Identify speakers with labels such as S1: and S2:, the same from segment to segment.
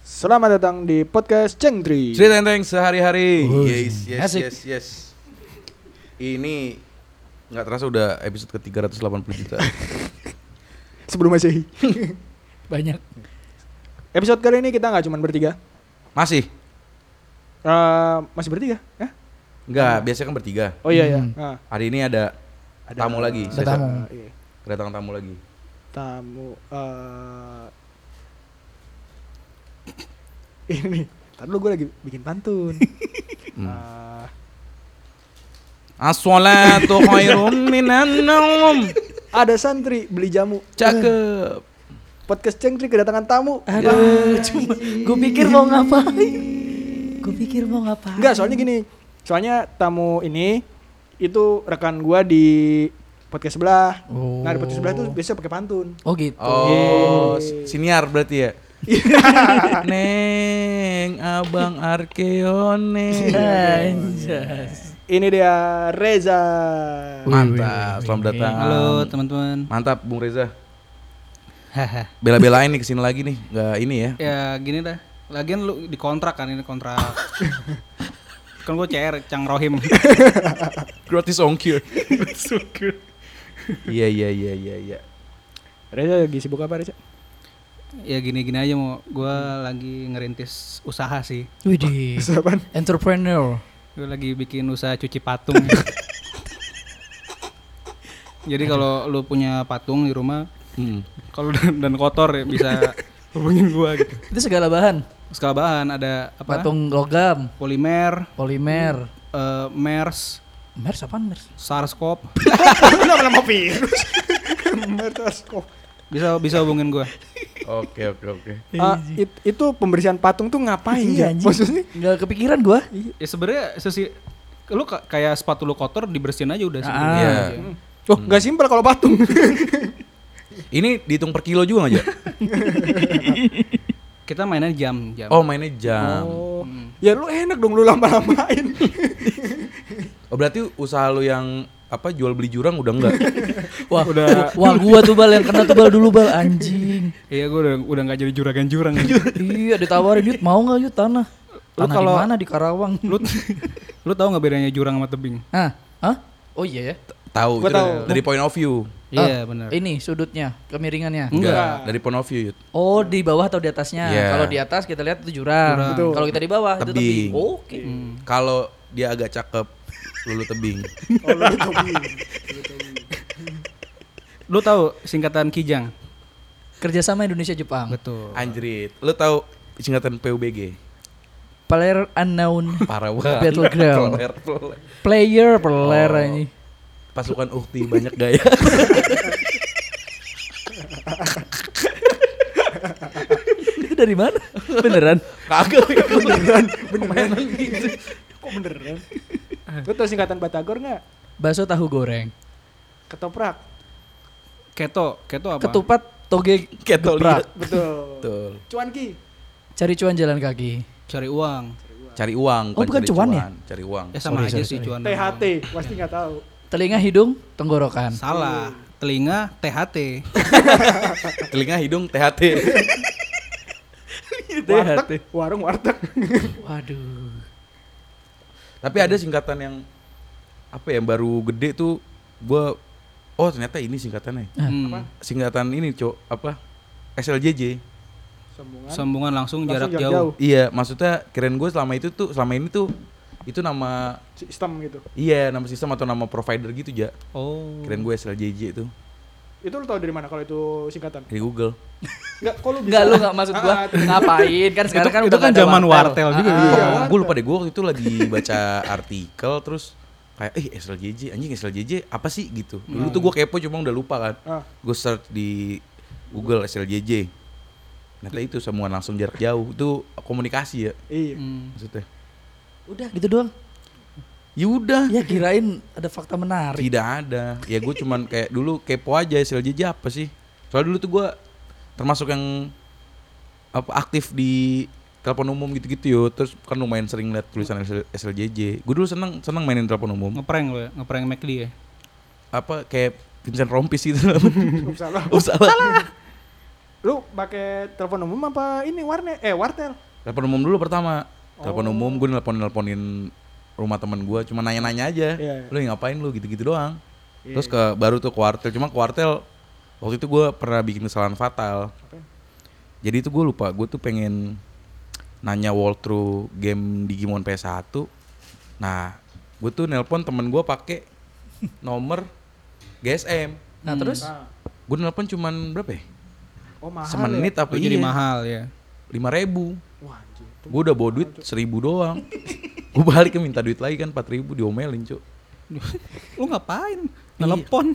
S1: Selamat datang di podcast Cengtri.
S2: Cerita enteng sehari-hari.
S3: Yes, yes,
S2: Asik.
S3: yes, yes. Ini nggak terasa udah episode ke 380 juta.
S1: Sebelum masih
S4: banyak
S1: episode kali ini kita nggak cuma bertiga,
S3: Masih?
S1: Eh, masih bertiga? Hah?
S3: Nggak, biasanya kan bertiga.
S1: Oh iya iya.
S4: Hmm.
S1: Ah,
S3: Hari ini ada, tamu lagi.
S4: Ada
S3: Saya-
S4: tamu.
S1: Ah, iya.
S3: Kedatangan tamu lagi.
S1: Tamu. eh ini. Tadi lu gue lagi bikin pantun.
S3: Hmm.
S1: Ah,
S3: As-salatu khairum minan naum.
S1: ada santri beli jamu.
S3: Cakep.
S1: Podcast Cengtri kedatangan tamu.
S4: aduh Ya, cuma gue pikir mau ngapain gue pikir mau ngapain
S1: Enggak, soalnya gini. Soalnya tamu ini itu rekan gua di podcast sebelah.
S4: oh.
S1: Nah, di podcast sebelah itu biasanya pakai pantun.
S4: oh gitu
S3: Oh,
S1: Yeay.
S3: siniar berarti ya? Neng, abang Arkeone.
S4: iya, Anjas.
S1: Ini dia Reza.
S3: Mantap, selamat datang.
S5: Halo teman-teman.
S3: Mantap, Bung Reza.
S5: Haha.
S3: Bela-belain nih kesini lagi nih, nggak ini ya?
S5: ya gini dah. Lagian lu dikontrak kan ini kontrak. kan gue CR Cang Rohim.
S3: Gratis ongkir. Iya iya iya iya iya.
S1: Reza lagi sibuk apa Reza?
S5: ya gini-gini aja mau gue lagi ngerintis usaha sih.
S4: Widih,
S1: Apaan?
S4: entrepreneur.
S5: Gue lagi bikin usaha cuci patung. Jadi kalau lu punya patung di rumah,
S3: Hmm.
S5: kalau dan, dan kotor ya bisa hubungin gua gitu.
S4: Itu segala bahan.
S5: Segala bahan ada apa?
S4: Patung logam,
S5: Polimer,
S4: polimer,
S5: eh, MERS,
S4: mers apaan mers?
S5: SARS-CoV.
S1: Kenapa nama virus? Mertoskop.
S5: Bisa bisa hubungin gua.
S3: Oke oke oke.
S1: Ah, it- itu pembersihan patung tuh ngapain ya?
S4: Iya, anjing.
S1: Maksudnya?
S4: Nggak kepikiran gua.
S5: Ya sebenarnya sesi lu ka- kayak sepatu lu kotor dibersihin aja udah sebenarnya.
S4: Ah.
S3: Iya.
S1: Oh, nggak simpel kalau patung.
S3: Ini dihitung per kilo juga aja.
S5: Kita mainnya jam jam.
S3: Oh mainnya jam.
S1: Oh. Ya lu enak dong lu lama-lamain.
S3: Oh berarti usaha lu yang apa jual beli jurang udah enggak?
S4: Wah, wah gua tuh bal yang kena tuh bal dulu bal anjing.
S5: Iya gue udah udah nggak jadi juragan-jurang.
S4: iya, ditawarin yut mau nggak yut tanah?
S5: Lu
S4: Tanah
S5: kalau-
S4: di mana di Karawang?
S5: lu lu tahu nggak bedanya jurang sama tebing?
S4: Hah? Hah? Oh iya ya.
S3: Tahu
S1: Gua
S3: itu
S1: tahu.
S3: dari- dari point of view.
S4: Ah,
S5: Iya benar.
S4: Ini sudutnya, kemiringannya.
S3: Enggak, dari point of view. Yud.
S4: Oh, di bawah atau di atasnya?
S3: Iya.
S4: Kalau di atas kita lihat itu jurang.
S1: Betul.
S4: Kalau kita di bawah itu
S3: Tebing.
S4: tebing. Oke.
S5: Hmm.
S3: Kalau dia agak cakep, lulu tebing.
S1: Oh, lu topi.
S5: Lu tahu singkatan kijang?
S4: Kerjasama Indonesia Jepang.
S5: Betul.
S3: Anjrit. Lu tahu singkatan PUBG?
S4: Player unknown
S3: Parawan.
S4: battleground.
S3: Peler, peler.
S4: Player player
S5: Oh.
S4: ini.
S3: Pasukan ukti banyak gaya.
S4: Itu dari mana? Beneran?
S3: Kagak.
S1: beneran, beneran. Kok beneran? Lu tau singkatan Batagor nggak?
S4: Bakso tahu goreng.
S1: Ketoprak.
S5: Keto, keto apa?
S4: Ketupat toge
S3: Ketolik.
S4: Ketoprak.
S1: Betul.
S3: Betul.
S1: Cuan Ki.
S4: cari cuan jalan kaki.
S5: Cari uang.
S3: Cari uang.
S4: Oh, bukan
S3: cari
S4: cuan ya?
S3: Cari uang.
S5: Ya sama
S4: Sorry,
S5: aja
S4: sorry,
S5: sih
S4: sorry.
S5: cuan.
S1: THT, pasti nggak tahu.
S4: Telinga, hidung, tenggorokan.
S5: Salah. Telinga THT.
S3: Telinga, hidung, THT.
S1: Iya, Warteg, warung warteg.
S4: Waduh.
S3: Tapi ada singkatan yang apa ya yang baru gede tuh gua oh ternyata ini singkatannya.
S5: Hmm.
S3: Singkatan ini, Cok, apa? SLJJ.
S1: Sambungan.
S5: Sambungan langsung,
S1: Langsung
S5: jarak
S1: jarak
S5: jauh.
S1: jauh.
S3: Iya, maksudnya keren gue selama itu tuh selama ini tuh itu nama
S1: sistem gitu.
S3: iya nama sistem atau nama provider gitu ja
S5: Oh.
S3: keren gue SLJJ itu
S1: Itu lu tau dari mana kalau itu singkatan?
S3: dari Google
S1: Enggak, kok lu bisa?
S4: Enggak lu enggak maksud gua
S1: Ah, ah,
S4: ngapain kan sekarang kan
S5: itu
S4: udah
S5: kan
S4: nggak ada
S5: zaman wartel juga. gitu.
S4: Ah,
S1: Iya.
S3: gue lupa deh gue waktu itu lagi baca artikel terus kayak eh SLJJ anjing SLJJ apa sih gitu dulu tuh gue kepo cuma udah lupa kan
S1: Ah.
S3: gue search di Google SLJJ ternyata itu sambungan langsung jarak jauh itu komunikasi ya
S1: Iya.
S5: Hmm.
S3: maksudnya
S4: Udah gitu doang.
S3: yaudah
S4: Ya kirain ada fakta menarik.
S3: tidak ada ya gue cuman kayak dulu kepo aja SLJJ apa sih soalnya dulu tuh gue termasuk yang apa aktif di telepon umum gitu-gitu yo terus kan lumayan sering liat tulisan SLJJ gue dulu seneng seneng mainin telepon umum
S5: Ngeprank lu ya, ngeprank McD ya.
S3: apa kayak Vincent Rompis gitu lah.
S1: Lu salah.
S3: Oh, salah.
S1: Lu pakai telepon umum apa ini warnet? Eh, wartel.
S3: Telepon umum dulu pertama.
S1: Oh.
S3: Telepon umum gue nelpon nelponin rumah temen gue cuma nanya-nanya aja.
S1: Iya, iya.
S3: Lu ngapain lu gitu-gitu doang. Terus ke baru tuh kuartel cuma kuartel waktu itu gue pernah bikin kesalahan fatal.
S1: ya?
S3: Jadi itu gue lupa gue tuh pengen nanya walkthrough game Digimon PS1. Nah, gue tuh nelpon temen gue pakai nomor GSM.
S4: Nah terus
S5: Hmm.
S3: Gue nelpon cuman berapa ya?
S1: Oh mahal
S3: Semenit apa iya.
S5: Itu jadi
S4: iya.
S5: mahal ya.
S3: lima ribu
S1: ya? Wah, anjir.
S3: gue udah bawa duit seribu doang gue balik ke minta duit lagi kan empat ribu diomelin cuk
S5: Lu ngapain? Telepon.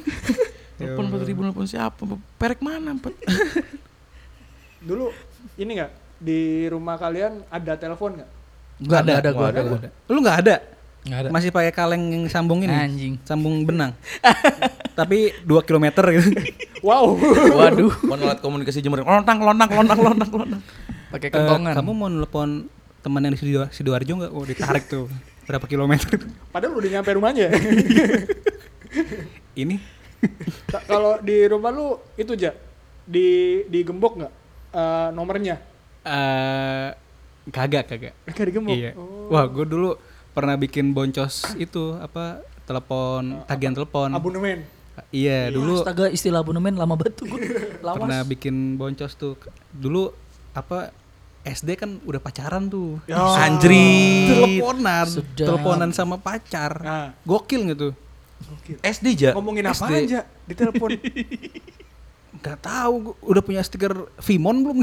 S4: Ya
S3: telepon empat ribu telepon siapa perek mana empat
S1: Dulu ini nggak di rumah kalian ada telepon nggak?
S5: Enggak ada,
S4: Nggak ada,
S5: ada,
S4: gua
S5: gua ada,
S4: ada,
S5: gua ada. Lu enggak ada?
S4: nggak ada.
S5: Masih pakai kaleng yang sambung ini.
S4: Anjing.
S5: Sambung benang. Tapi 2 km gitu.
S1: Wow.
S4: Waduh.
S3: Bukan alat komunikasi Jember lontang lontang lontang lontang lontang
S4: Pakai
S5: Eh,
S4: kentongan.
S5: kamu mau nelpon teman yang di Sido- Sidoarjo enggak? Oh, ditarik tuh. Berapa kilometer?
S1: Padahal udah nyampe rumahnya.
S5: ini
S1: Ta- Kalau di rumah lu itu aja di digembok nggak eh, nomornya?
S5: eh kagak kagak.
S1: Gak digembok.
S5: Iya.
S1: Oh.
S5: Wah, gue dulu pernah bikin boncos itu apa telepon tagihan telepon.
S1: Abonemen.
S5: Iya, dulu
S4: Astaga istilah abonemen lama banget tuh gue. Lawas.
S5: pernah bikin boncos tuh. Dulu apa SD kan udah pacaran tuh.
S1: Ya.
S3: Anjrit
S5: Teleponan,
S4: Sedap.
S5: teleponan sama pacar.
S1: Nah.
S5: Gokil gitu.
S3: SD ja
S1: Ngomongin apa
S5: SD.
S1: aja di telepon.
S5: Gak tahu, gua udah punya stiker Vimon belum?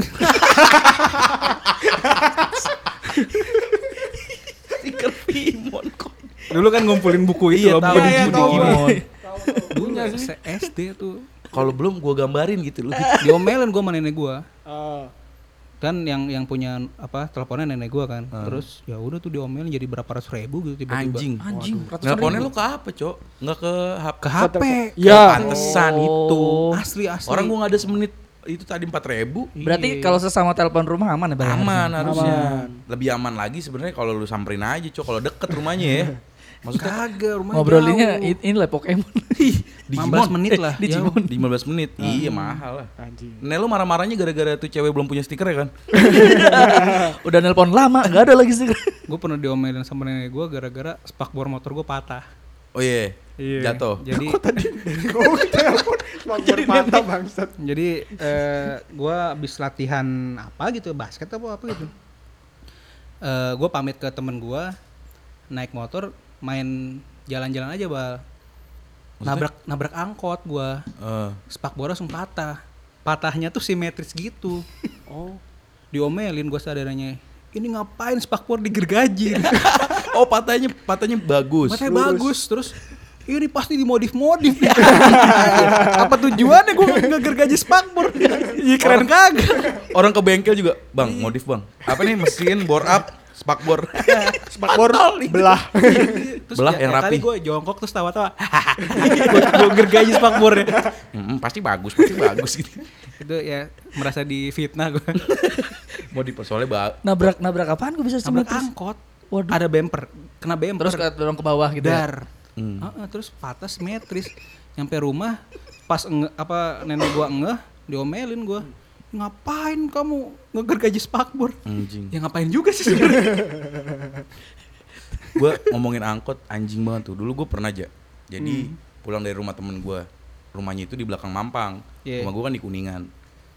S3: stiker Vimon kok
S5: dulu kan ngumpulin buku
S3: Iya,
S5: itu, loh,
S3: tahu.
S5: buku
S1: Iya,
S5: buku
S1: tahu.
S5: Digimon. Dulu
S1: Dulunya sih.
S5: se- SD tuh
S3: kalau belum gue gambarin gitu lu
S4: Eh,
S5: diomelin gue sama nenek gue.
S1: Ah,
S5: kan yang yang punya apa teleponnya nenek gua kan terus ya udah tuh diomelin jadi berapa ratus ribu gitu tiba-tiba
S3: Ah. anjing
S4: Anjing. ratusan
S3: nelponnya
S4: ribu.
S3: lu ke apa cok nggak ke HP
S5: ke HP
S1: Ya.
S3: pantesan itu
S5: asli asli
S3: orang gue nggak ada semenit itu tadi empat ribu
S4: Berarti kalau sesama telepon rumah aman ya Bang?
S3: aman harusnya
S1: Aman.
S3: lebih aman lagi sebenarnya kalau lu samperin aja cok kalau deket rumahnya ya maksudnya
S5: kagak rumah
S4: Ngobrolinnya i- ini lah Pokemon.
S5: Digimon. 15 menit lah. Ya,
S4: Di Digimon.
S3: di 15 menit iya mahal lah
S1: anjing.
S3: Nek lu marah-marahnya gara-gara tuh cewek belum punya stiker ya kan
S4: Udah nelpon lama, nggak ada lagi sih.
S5: gue pernah diomelin sama nenek gua gara-gara spakbor motor gua patah
S3: oh iya jatuh
S5: jadi
S1: Kau telepon cuma bermata bangsat.
S5: jadi eh, gua habis latihan apa gitu basket apa apa gitu Eh gue pamit ke temen gua naik motor main jalan-jalan aja bal nabrak nabrak angkot gua
S3: Eh,
S5: spakbor langsung patah patahnya tuh simetris gitu
S1: Oh.
S5: diomelin gue sadarannya ini ngapain spakbor digergaji
S3: oh patahnya patahnya bagus
S5: matanya bagus terus ini pasti dimodif-modif nih. apa tujuannya gue nggak gergaji spakbor ya keren kagak
S3: orang ke bengkel juga bang modif bang apa nih mesin bore up spakbor
S1: Spakbor belah.
S5: terus
S3: Belah
S5: ya-
S3: yang
S5: ya
S3: rapi.
S5: kali gue jongkok terus tawa-tawa gue gergaji spakbornya
S3: Hmm, pasti bagus pasti bagus gitu
S5: itu ya merasa difitnah gue
S3: modif soalnya ba-
S4: Nabrak nabrak apaan gue bisa
S5: nabrak
S4: simetris?
S5: angkot
S4: Waduh.
S5: ada bemper kena bemper
S4: Terus ke dorong ke bawah gitu. ya?
S5: dar
S3: Hmm.
S5: Heeh, terus patah simetris nyampe rumah pas enge, apa nenek gua ngeh diomelin gua ngapain kamu ngegergaji spakbor
S3: anjing
S5: ya ngapain juga sih sebenarnya
S3: gue ngomongin angkot anjing banget tuh dulu gue pernah aja jadi pulang dari rumah temen gue rumahnya itu di belakang Mampang
S5: Iya.
S3: rumah gue kan di Kuningan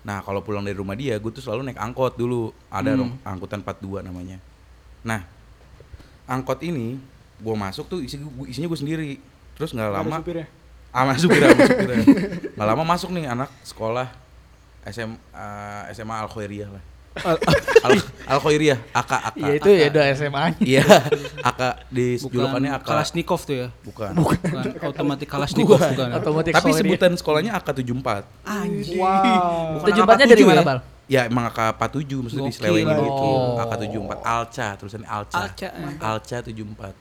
S3: nah kalau pulang dari rumah dia gue tuh selalu naik angkot dulu ada rom- angkutan 42 namanya nah angkot ini gue masuk tuh isi gua- isinya gue sendiri terus nggak
S1: Ada
S3: lama
S1: supirnya.
S3: sama supir sama supir nggak lama masuk nih anak sekolah SM, eh, SMA Al Khairiyah lah Al, Al Khairiyah AK AK
S4: Iya itu ya udah SMA-nya.
S3: Iya, AK di julukannya AK.
S5: Kalashnikov tuh ya
S3: Bukan.
S5: bukan otomatis Kalashnikov bukan ya?
S4: Otomatis
S3: Tapi
S4: kalau ini-
S3: sebutan sekolahnya AK 74.
S5: anjing
S1: Wow.
S5: Bukan
S4: Itu jempatnya dari
S5: 47
S4: mana,
S5: ya?
S4: Bal?
S3: Ya emang AK 47 maksudnya
S5: Gokil.
S3: diselewengin gitu.
S4: Oh.
S3: AK 74 Alca tulisannya Alca.
S5: Alca, eh. mantap.
S3: Alca 74.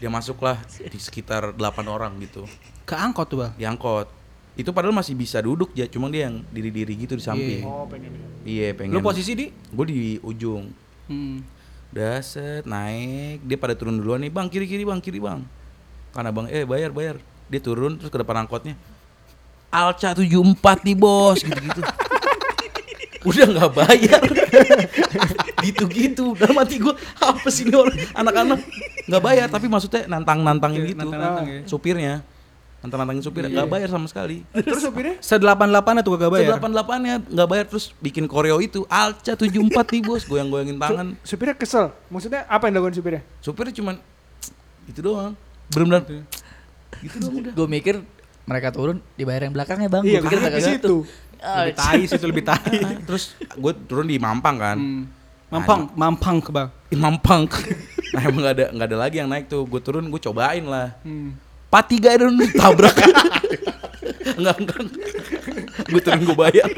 S3: Dia masuklah di sekitar 8 orang gitu.
S5: ke angkot tuh bal
S3: Diangkot. Itu padahal masih bisa duduk ya, cuma dia yang diri-diri gitu di samping.
S5: Iya.
S1: Oh, pengen.
S3: Iya, pengen.
S5: lu posisi di
S3: Gue di ujung.
S5: hmm.
S3: Udah set naik, dia pada turun duluan nih, "Bang, kiri-kiri, Bang, kiri, Bang." Karena Bang, "Eh, bayar, bayar." Dia turun terus ke depan angkotnya. Alca 74 nih, Bos, gitu-gitu. udah nggak bayar gitu-gitu udah mati gue apa sih ini orang anak-anak nggak bayar tapi maksudnya nantang-nantangin
S5: Iya,
S3: gitu
S5: nantang-nantang ya.
S3: supirnya nantang-nantangin supir nggak bayar sama sekali
S1: Terus supirnya?
S5: Sedelapan delapan tuh gak bayar.
S3: delapan delapannya nggak bayar terus bikin koreo itu alca 74 nih bos goyang-goyangin tangan
S1: Supirnya kesel. Maksudnya apa yang dilakukan supirnya?
S3: supirnya cuman itu doang benar-benar
S5: ya.
S3: gitu doang udah
S4: Gue mikir mereka turun dibayar yang belakangnya bang.
S1: Iya,
S4: Gua pikir
S1: karena
S4: kagak
S1: di situ.
S4: tuh. Ah,
S5: Lebih tai sih itu lebih tai.
S3: Ah, Oh, terus gue turun di Mampang kan
S5: Hmm. Mampang, mampang ke bang.
S3: Ih, Mampang nah emang nggak ada nggak ada lagi yang naik tuh gue turun gue cobain lah
S5: Hmm.
S3: Pati gak ada tabrak Enggak, enggak Gue turun gue bayar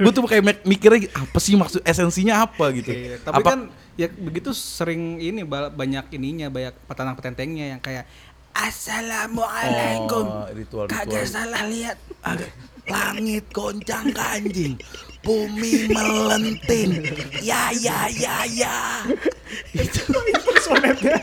S3: Gue tuh kayak mek- mikirnya Apa sih maksud esensinya apa gitu
S5: Iya, tapi
S3: Apa-
S5: kan ya begitu sering ini ba- banyak ininya banyak petanang petentengnya yang kayak
S3: Oh,
S5: Assalamualaikum.
S3: ritual, ritual.
S5: Kagak salah lihat.
S3: Agak- Langit goncang kanjing Bumi melenting Ya ya ya ya
S1: Sonetnya.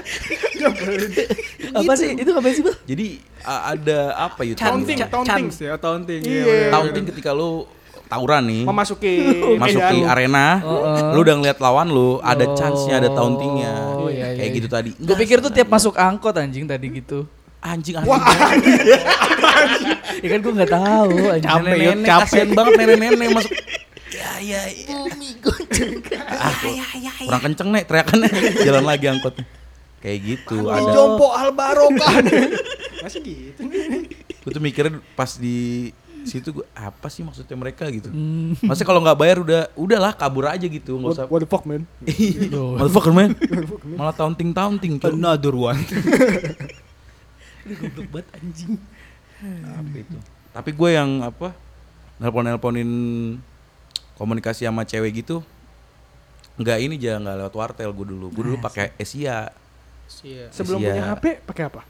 S4: Apa sih? Itu ngapain sih bang?
S3: Jadi a- ada apa gitu
S1: Taunting,
S4: Chan.
S1: taunting.
S5: Ya taunting.
S1: Iya.
S3: Taunting ketika lu tawuran nih
S1: Memasuki
S3: masuk di
S1: medan.
S3: arena,
S4: Oh.
S3: lu udah ngeliat lawan lu, ada chance-nya, ada tauntingnya,
S4: Oh, iya,
S3: kayak
S4: iya,
S3: gitu
S4: iya.
S3: tadi.
S4: Gue pikir tuh tiap masuk angkot anjing tadi gitu.
S3: anjing anjing
S4: Ya kan gue nggak tahu. anjing.
S3: capek ya.
S5: Nenek-nenek,
S3: nenek kasihan banget nenek nenek masuk ya ya ya Ah, kurang kenceng nek teriakannya jalan lagi angkotnya kayak gitu ada
S1: Jompo Alvaro kan. Masih gitu nih.
S3: gue tuh mikirnya pas di situ gue apa sih maksudnya mereka gitu maksudnya kalau nggak bayar udah udahlah kabur aja gitu nggak
S1: What,
S3: usah
S1: what the fuck man?
S3: motherfucker man malah taunting taunting tuh
S5: Another one.
S3: goblok banget anjing apa itu tapi gue yang apa nelpon nelponin komunikasi sama cewek gitu nggak ini aja nggak lewat wartel gue dulu gue dulu pakai Asia
S1: Sebelum
S3: Iya.
S1: punya HP pakai apa?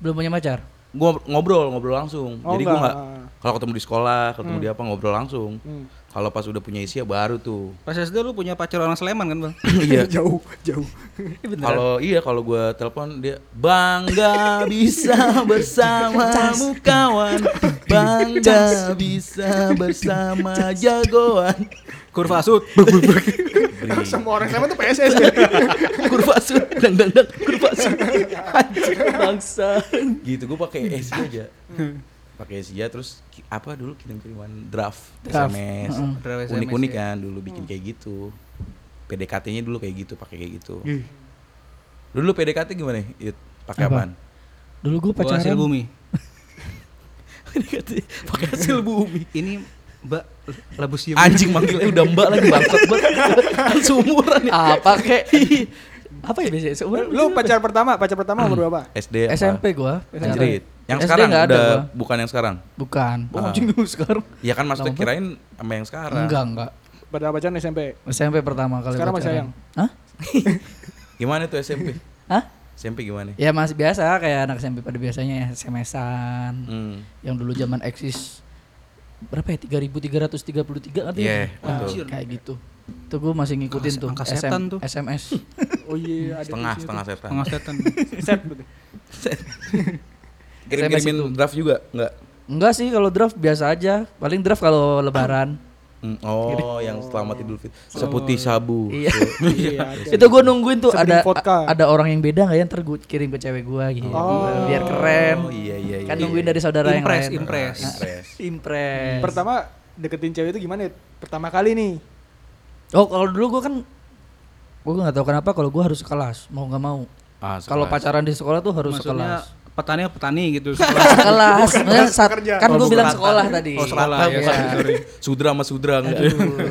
S4: Belum punya pacar.
S3: gue ngobrol ngobrol langsung
S1: Oh,
S3: jadi gue
S1: nggak.
S3: nggak kalau ketemu di sekolah ketemu di apa ngobrol langsung
S1: Hmm.
S3: kalau pas udah punya Asia baru tuh
S5: Pas SD lu punya pacar orang Sleman kan bang?
S3: iya
S1: jauh, jauh.
S3: kalau iya kalau gue telepon dia bangga bisa bersamamu kawan bangga bisa bersama jagoan
S5: Kurva sud.
S1: Semua orang sama tuh PSS.
S3: kurva sud dang dang dang kurva sud
S4: Anjing bangsa.
S3: gitu gue pakai
S4: Hmm.
S3: Asia aja pakai Asia terus ki- apa dulu kirim kiriman draft,
S4: Draft.
S3: SMS
S4: Mm-mm.
S5: Draft SMS,
S3: unik unik
S5: ya.
S3: kan dulu
S4: Hmm.
S3: bikin kayak gitu PDKT-nya dulu kayak gitu pakai kayak gitu dulu PDKT gimana Yud? pakai
S4: Apa?
S3: apaan
S4: Dulu gue
S5: Gua
S4: pacaran.
S5: hasil bumi.
S3: pakai hasil bumi
S5: Ini Mbak labu siam.
S3: anjing manggilnya udah mbak lagi bangsat banget seumuran ya
S4: Apa kek? Apa ya biasanya? Seumuran
S1: Lu
S4: berapa?
S1: pacar pertama, pacar pertama umur berapa?
S3: SD apa?
S4: SMP gua.
S3: Anjrit. yang
S4: SD
S3: sekarang
S4: nggak ada
S3: udah
S4: gua.
S3: bukan yang sekarang
S4: Bukan.
S3: Ah.
S4: Oh, anjing dulu sekarang.
S3: ya kan maksudnya
S4: Lama banget.
S3: kirain sama yang sekarang
S4: Enggak, enggak.
S1: Pada pacaran SMP.
S4: SMP pertama kali
S1: Sekarang masih
S4: pacaran.
S1: sayang?
S4: Hah?
S3: gimana tuh SMP
S4: Hah?
S3: SMP gimana
S4: Ya masih biasa kayak anak SMP pada biasanya ya, SMS-an.
S3: Hmm.
S4: Yang dulu zaman eksis berapa ya? 3333 ngerti
S3: Iya,
S4: ya? Nah,
S5: betul.
S4: kayak gitu. Tuh gue masih ngikutin
S5: Angka-
S4: tuh,
S5: angka setan tuh.
S4: SMS.
S1: Oh iya, ada
S3: setengah
S1: isinya
S3: setengah
S1: tuh.
S3: setan
S5: Setengah setan.
S1: Set betul.
S3: kirim-kirimin
S4: SMS itu.
S3: draft juga enggak
S4: Enggak sih kalau draft biasa aja. Paling draft kalau lebaran.
S3: Hmm, oh yang selamat idul fitri seputih sabu
S4: Iya.
S1: Iya.
S3: Ah.
S1: ada.
S4: Itu gue nungguin tuh
S1: Sebening
S4: ada
S1: vodka.
S4: a- ada orang yang beda nggak ya ntar gue kirim ke cewek gue gitu.
S1: Oh.
S4: Biar keren.
S3: oh iya iya iya
S4: Kan nungguin dari saudara yang
S5: Impress,
S4: lain.
S5: impress.
S4: Nah,
S3: Impress.
S1: Iya.
S4: impress.
S1: Pertama deketin cewek itu gimana? ya? Pertama kali nih.
S4: Oh kalau dulu gue kan gue nggak tahu kenapa kalau gue harus kelas mau nggak mau.
S3: Ah,
S4: Kalau
S3: sekelas.
S4: pacaran di sekolah tuh harus
S5: Maksudnya
S4: sekelas.
S5: petani petani gitu.
S4: Sekelas. Maksudnya saat-
S1: pekerja.
S4: kan
S5: Oh,
S4: gue
S5: bukan
S4: bilang
S5: rata.
S4: sekolah tadi.
S5: Oh, sekolah,
S4: Iya.
S5: ya, sorry, sorry.
S3: sudra sama sudra enggak
S4: Aduh.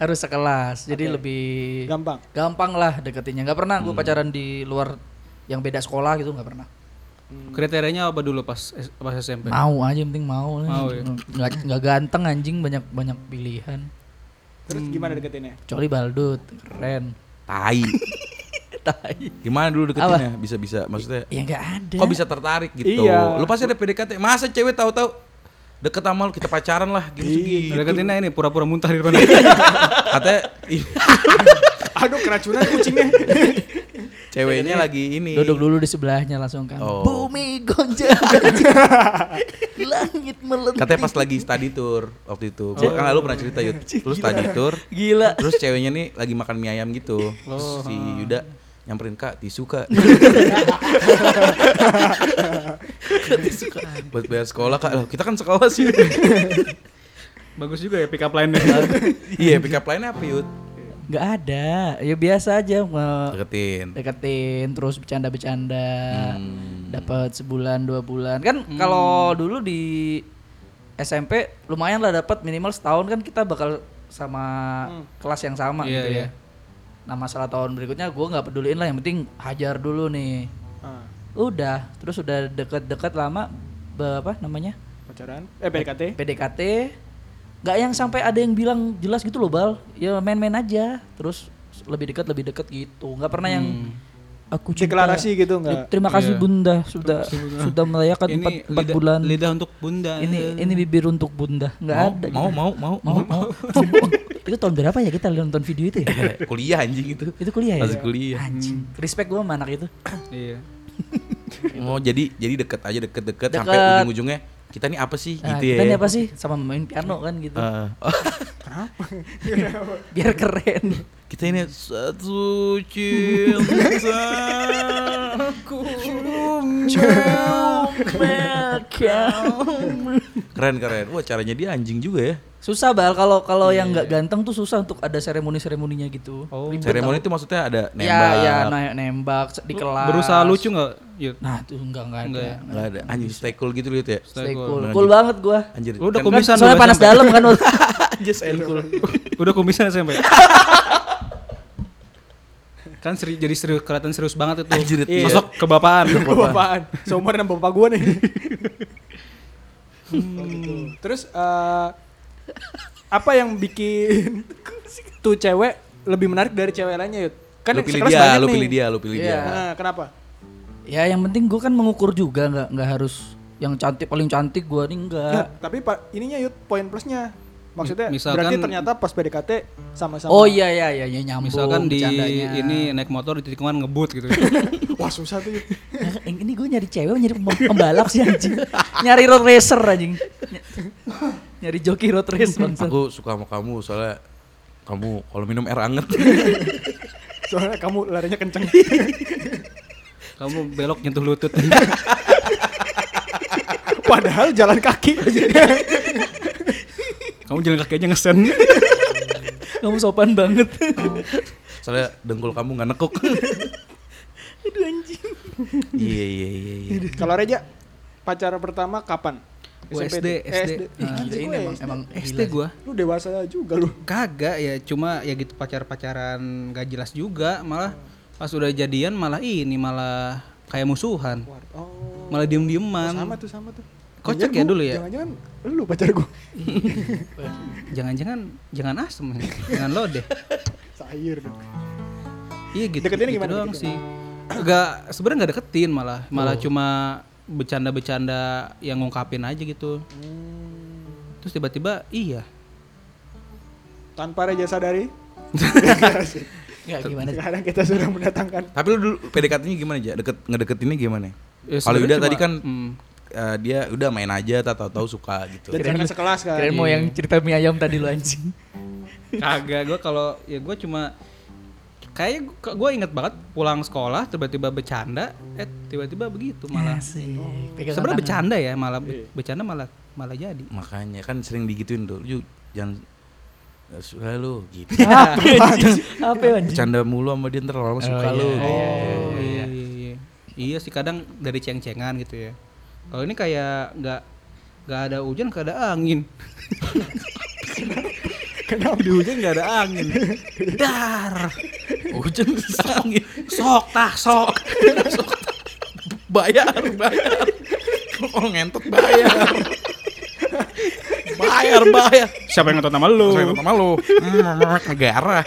S4: harus sekelas. Jadi lebih
S1: Gampang.
S4: gampang lah deketinnya. Nggak pernah
S5: Hmm.
S4: gue pacaran di luar yang beda sekolah gitu nggak pernah.
S5: Kriterianya apa dulu pas pas SMP?
S4: Mau aja yang penting mau.
S5: Mau ya?
S4: Nggak nggak ganteng anjing banyak banyak pilihan.
S1: Terus gimana deketinnya?
S4: Kecuali Baldut keren.
S3: tai
S4: Tai.
S3: gimana dulu deketinnya bisa bisa maksudnya
S4: Ya nggak ada.
S3: kok bisa tertarik gitu
S1: Iya.
S3: lu pasti ada PDKT masa cewek tahu-tahu deket sama lu kita pacaran lah gitu gitu
S5: Deketinnya ini pura-pura muntah di depan.
S3: katanya ih,
S1: Aduh keracunan kucingnya.
S3: ceweknya lagi ini
S4: Duduk dulu di sebelahnya langsung kan.
S3: Oh.
S4: Bumi gonjang. Langit melenting.
S3: Katanya pas lagi study tour waktu itu. Gua kan lalu pernah cerita Yud. Lu study tour,
S4: Oh. Gila.
S3: terus ceweknya nih lagi makan mie ayam gitu. Terus si Yuda nyamperin kak tisu kak buat bayar sekolah kak Loh, kita kan sekolah sih
S5: Bagus juga ya pick up line-nya.
S3: iya pick up line apa Yud
S4: Gak ada. Ya biasa aja. nge-
S3: deketin
S4: deketin terus bercanda-bercanda
S3: Hmm.
S4: dapat sebulan dua bulan kan
S5: Hmm.
S4: kalau dulu di SMP lumayan lah dapat minimal setahun kan kita bakal sama kelas yang sama
S5: Iya,
S4: gitu
S5: iya.
S4: ya nah masalah tahun berikutnya gue nggak peduliin lah yang penting hajar dulu nih
S1: Ah,
S4: udah terus udah deket-deket lama be- apa namanya
S1: pacaran? Eh PDKT?
S4: PDKT nggak yang sampai ada yang bilang jelas gitu loh bal ya main-main aja terus lebih dekat lebih dekat gitu nggak pernah yang aku cinta.
S1: Hmm. Deklarasi gitu nggak?
S4: terima kasih
S5: Iya.
S4: bunda sudah sudah merayakan kan empat
S5: Ini
S4: empat
S5: lidah-
S4: bulan
S5: lidah untuk bunda.
S4: ini ini bibir untuk bunda nggak
S3: mau,
S4: ada
S3: mau mau mau
S4: mau mau itu tahun berapa ya kita nonton video itu ya
S3: kuliah anjing itu
S4: itu kuliah ya
S3: Masih kuliah.
S4: anjing respect gua sama anak itu
S5: Iya.
S3: mau jadi jadi deket aja deket-deket sampai
S4: Deket.
S3: ujung-ujungnya kita nih apa sih gitu
S4: nah, kita
S3: ya
S4: ini apa sih sama main piano kan gitu
S3: Eh,
S4: biar keren
S3: kita ini satu cinta keren keren wah caranya dia anjing juga ya
S4: Susah bal kalau kalau yang nggak ganteng tuh susah untuk ada seremoni-seremoninya gitu.
S5: Iya. Oh.
S4: Ribet
S3: ceremoni
S4: tau.
S3: itu maksudnya ada nembak
S4: Ya ya na- nembak se- di kelas.
S5: Berusaha lucu nggak, Yud?
S4: Nah, tuh enggak enggak ada.
S5: Nggak ya?
S3: nggak ada anjing stay cool gitu lihat ya
S4: nah. Stay
S5: Stay cool.
S4: cool.
S3: Nah,
S4: Cool
S3: gitu.
S4: banget gua.
S3: anjir
S5: Lu udah
S3: kan-
S5: kumisan
S4: Soalnya
S5: dua
S4: panas
S5: jam, Bal.
S4: dalam kan. waktu-
S3: just stay cool
S5: Udah kumisan ya, SMP. kan seri, jadi serius kelihatan serius banget itu. ya.
S3: Anjir, iya.
S5: Masuk kebapaan.
S1: Bapaan. Seumur dengan bapak gua nih.
S4: Hmm.
S1: Oh, gitu. Terus eh, apa yang bikin tuh cewek lebih menarik dari cewek lainnya, Yud? Kan
S3: lu pilih
S1: sekelas
S3: dia
S1: banyak
S3: lu
S1: nih.
S3: pilih dia lu pilih
S4: Iya.
S3: dia
S1: Nah, kenapa?
S4: ya yang penting gua kan mengukur juga nggak nggak harus yang cantik paling cantik gua nih
S1: Nah,
S4: enggak.
S1: tapi pak ininya Yud poin plusnya. Maksudnya
S5: Misalkan-
S1: berarti ternyata pas PDKT sama-sama.
S4: Oh iya iya iya ya, nyambung
S5: Misalkan di
S4: bercandanya.
S5: ini naik motor di tikungan ngebut gitu.
S1: Wah, susah tuh. Yud.
S4: Nah, yang ini gue nyari cewek nyari pem- pembalap sih anjing. nyari road racer anjing. Ny- nyari joki road race bangsa.
S3: aku suka sama kamu soalnya kamu kalau minum air anget
S1: Soalnya kamu larinya kenceng.
S5: Kamu belok nyentuh lutut.
S1: Padahal jalan kaki.
S5: Kamu jalan kaki aja ngesen.
S4: Kamu sopan banget.
S3: soalnya dengkul kamu nggak nekuk
S4: Aduh anjing.
S3: iya iya iya iya
S1: Kalau Reja pacar pertama kapan?
S5: Gua
S1: SMP
S5: SD,
S1: tuh. Eh,
S5: SD.
S1: Ih,
S4: Nah,
S1: anjing,
S4: ini
S1: gua
S4: emang
S1: SD.
S4: emang
S5: SD
S4: gila.
S5: gua.
S1: Lu dewasa juga lu.
S5: Kagak ya, cuma ya gitu pacar-pacaran gak jelas juga, malah pas udah jadian malah ini malah kayak musuhan.
S1: Oh,
S5: Malah diem-dieman.
S1: sama tuh sama tuh. Jangan-jangan
S5: Kocak ya
S1: gua-
S5: dulu ya?
S1: Jangan-jangan lu pacar gua.
S5: Jangan-jangan jangan asem, ya. jangan lo deh.
S1: Sair dong.
S5: Iya gitu.
S1: Deketinnya
S5: gitu
S1: gimana,
S5: doang
S1: deketinnya?
S5: sih? Gak sebenarnya nggak deketin malah, malah cuma bercanda-bercanda yang ngungkapin aja gitu. Terus tiba-tiba iya.
S1: Tanpa Reja sadari,
S4: Ya gimana?
S1: sekarang kita sudah mendatangkan
S3: tapi lu dulu PDKT-nya gimana aja deket ngedeketinnya gimana
S5: Ya,
S3: kalau
S5: sebenarnya
S3: udah
S5: cuma-
S3: tadi kan
S5: hmm.
S3: eh, dia udah main aja tak tahu tahu suka gitu
S1: dan jangan sekelas kan.
S4: Keren mau yang cerita mie ayam tadi lu anjing.
S5: Kagak, gue kalau ya gue cuma kayak gue inget banget pulang sekolah tiba-tiba bercanda, eh tiba-tiba begitu malah.
S4: Asik. Pegangan
S5: Sebenarnya
S4: tangan.
S5: bercanda ya, malah be- bercanda malah malah jadi.
S3: makanya kan sering digituin tuh lu jangan eh, suka lu gitu
S4: Apa anjing? Ah, Apa ya, anjing?
S3: bercanda mulu sama dia ntar lama suka
S4: iya,
S3: lu gitu.
S5: Oh iya iya iya. Iya sih kadang dari ceng-cengan gitu ya. Kalau ini kayak nggak nggak ada hujan, nggak ada angin. Kenapa di hujan nggak ada angin? Dar,
S3: hujan angin
S5: sok tah sok.
S3: bayar bayar kalau ngentot bayar bayar bayar
S5: Siapa yang ngetot nama lu?
S3: Terus sama lu negara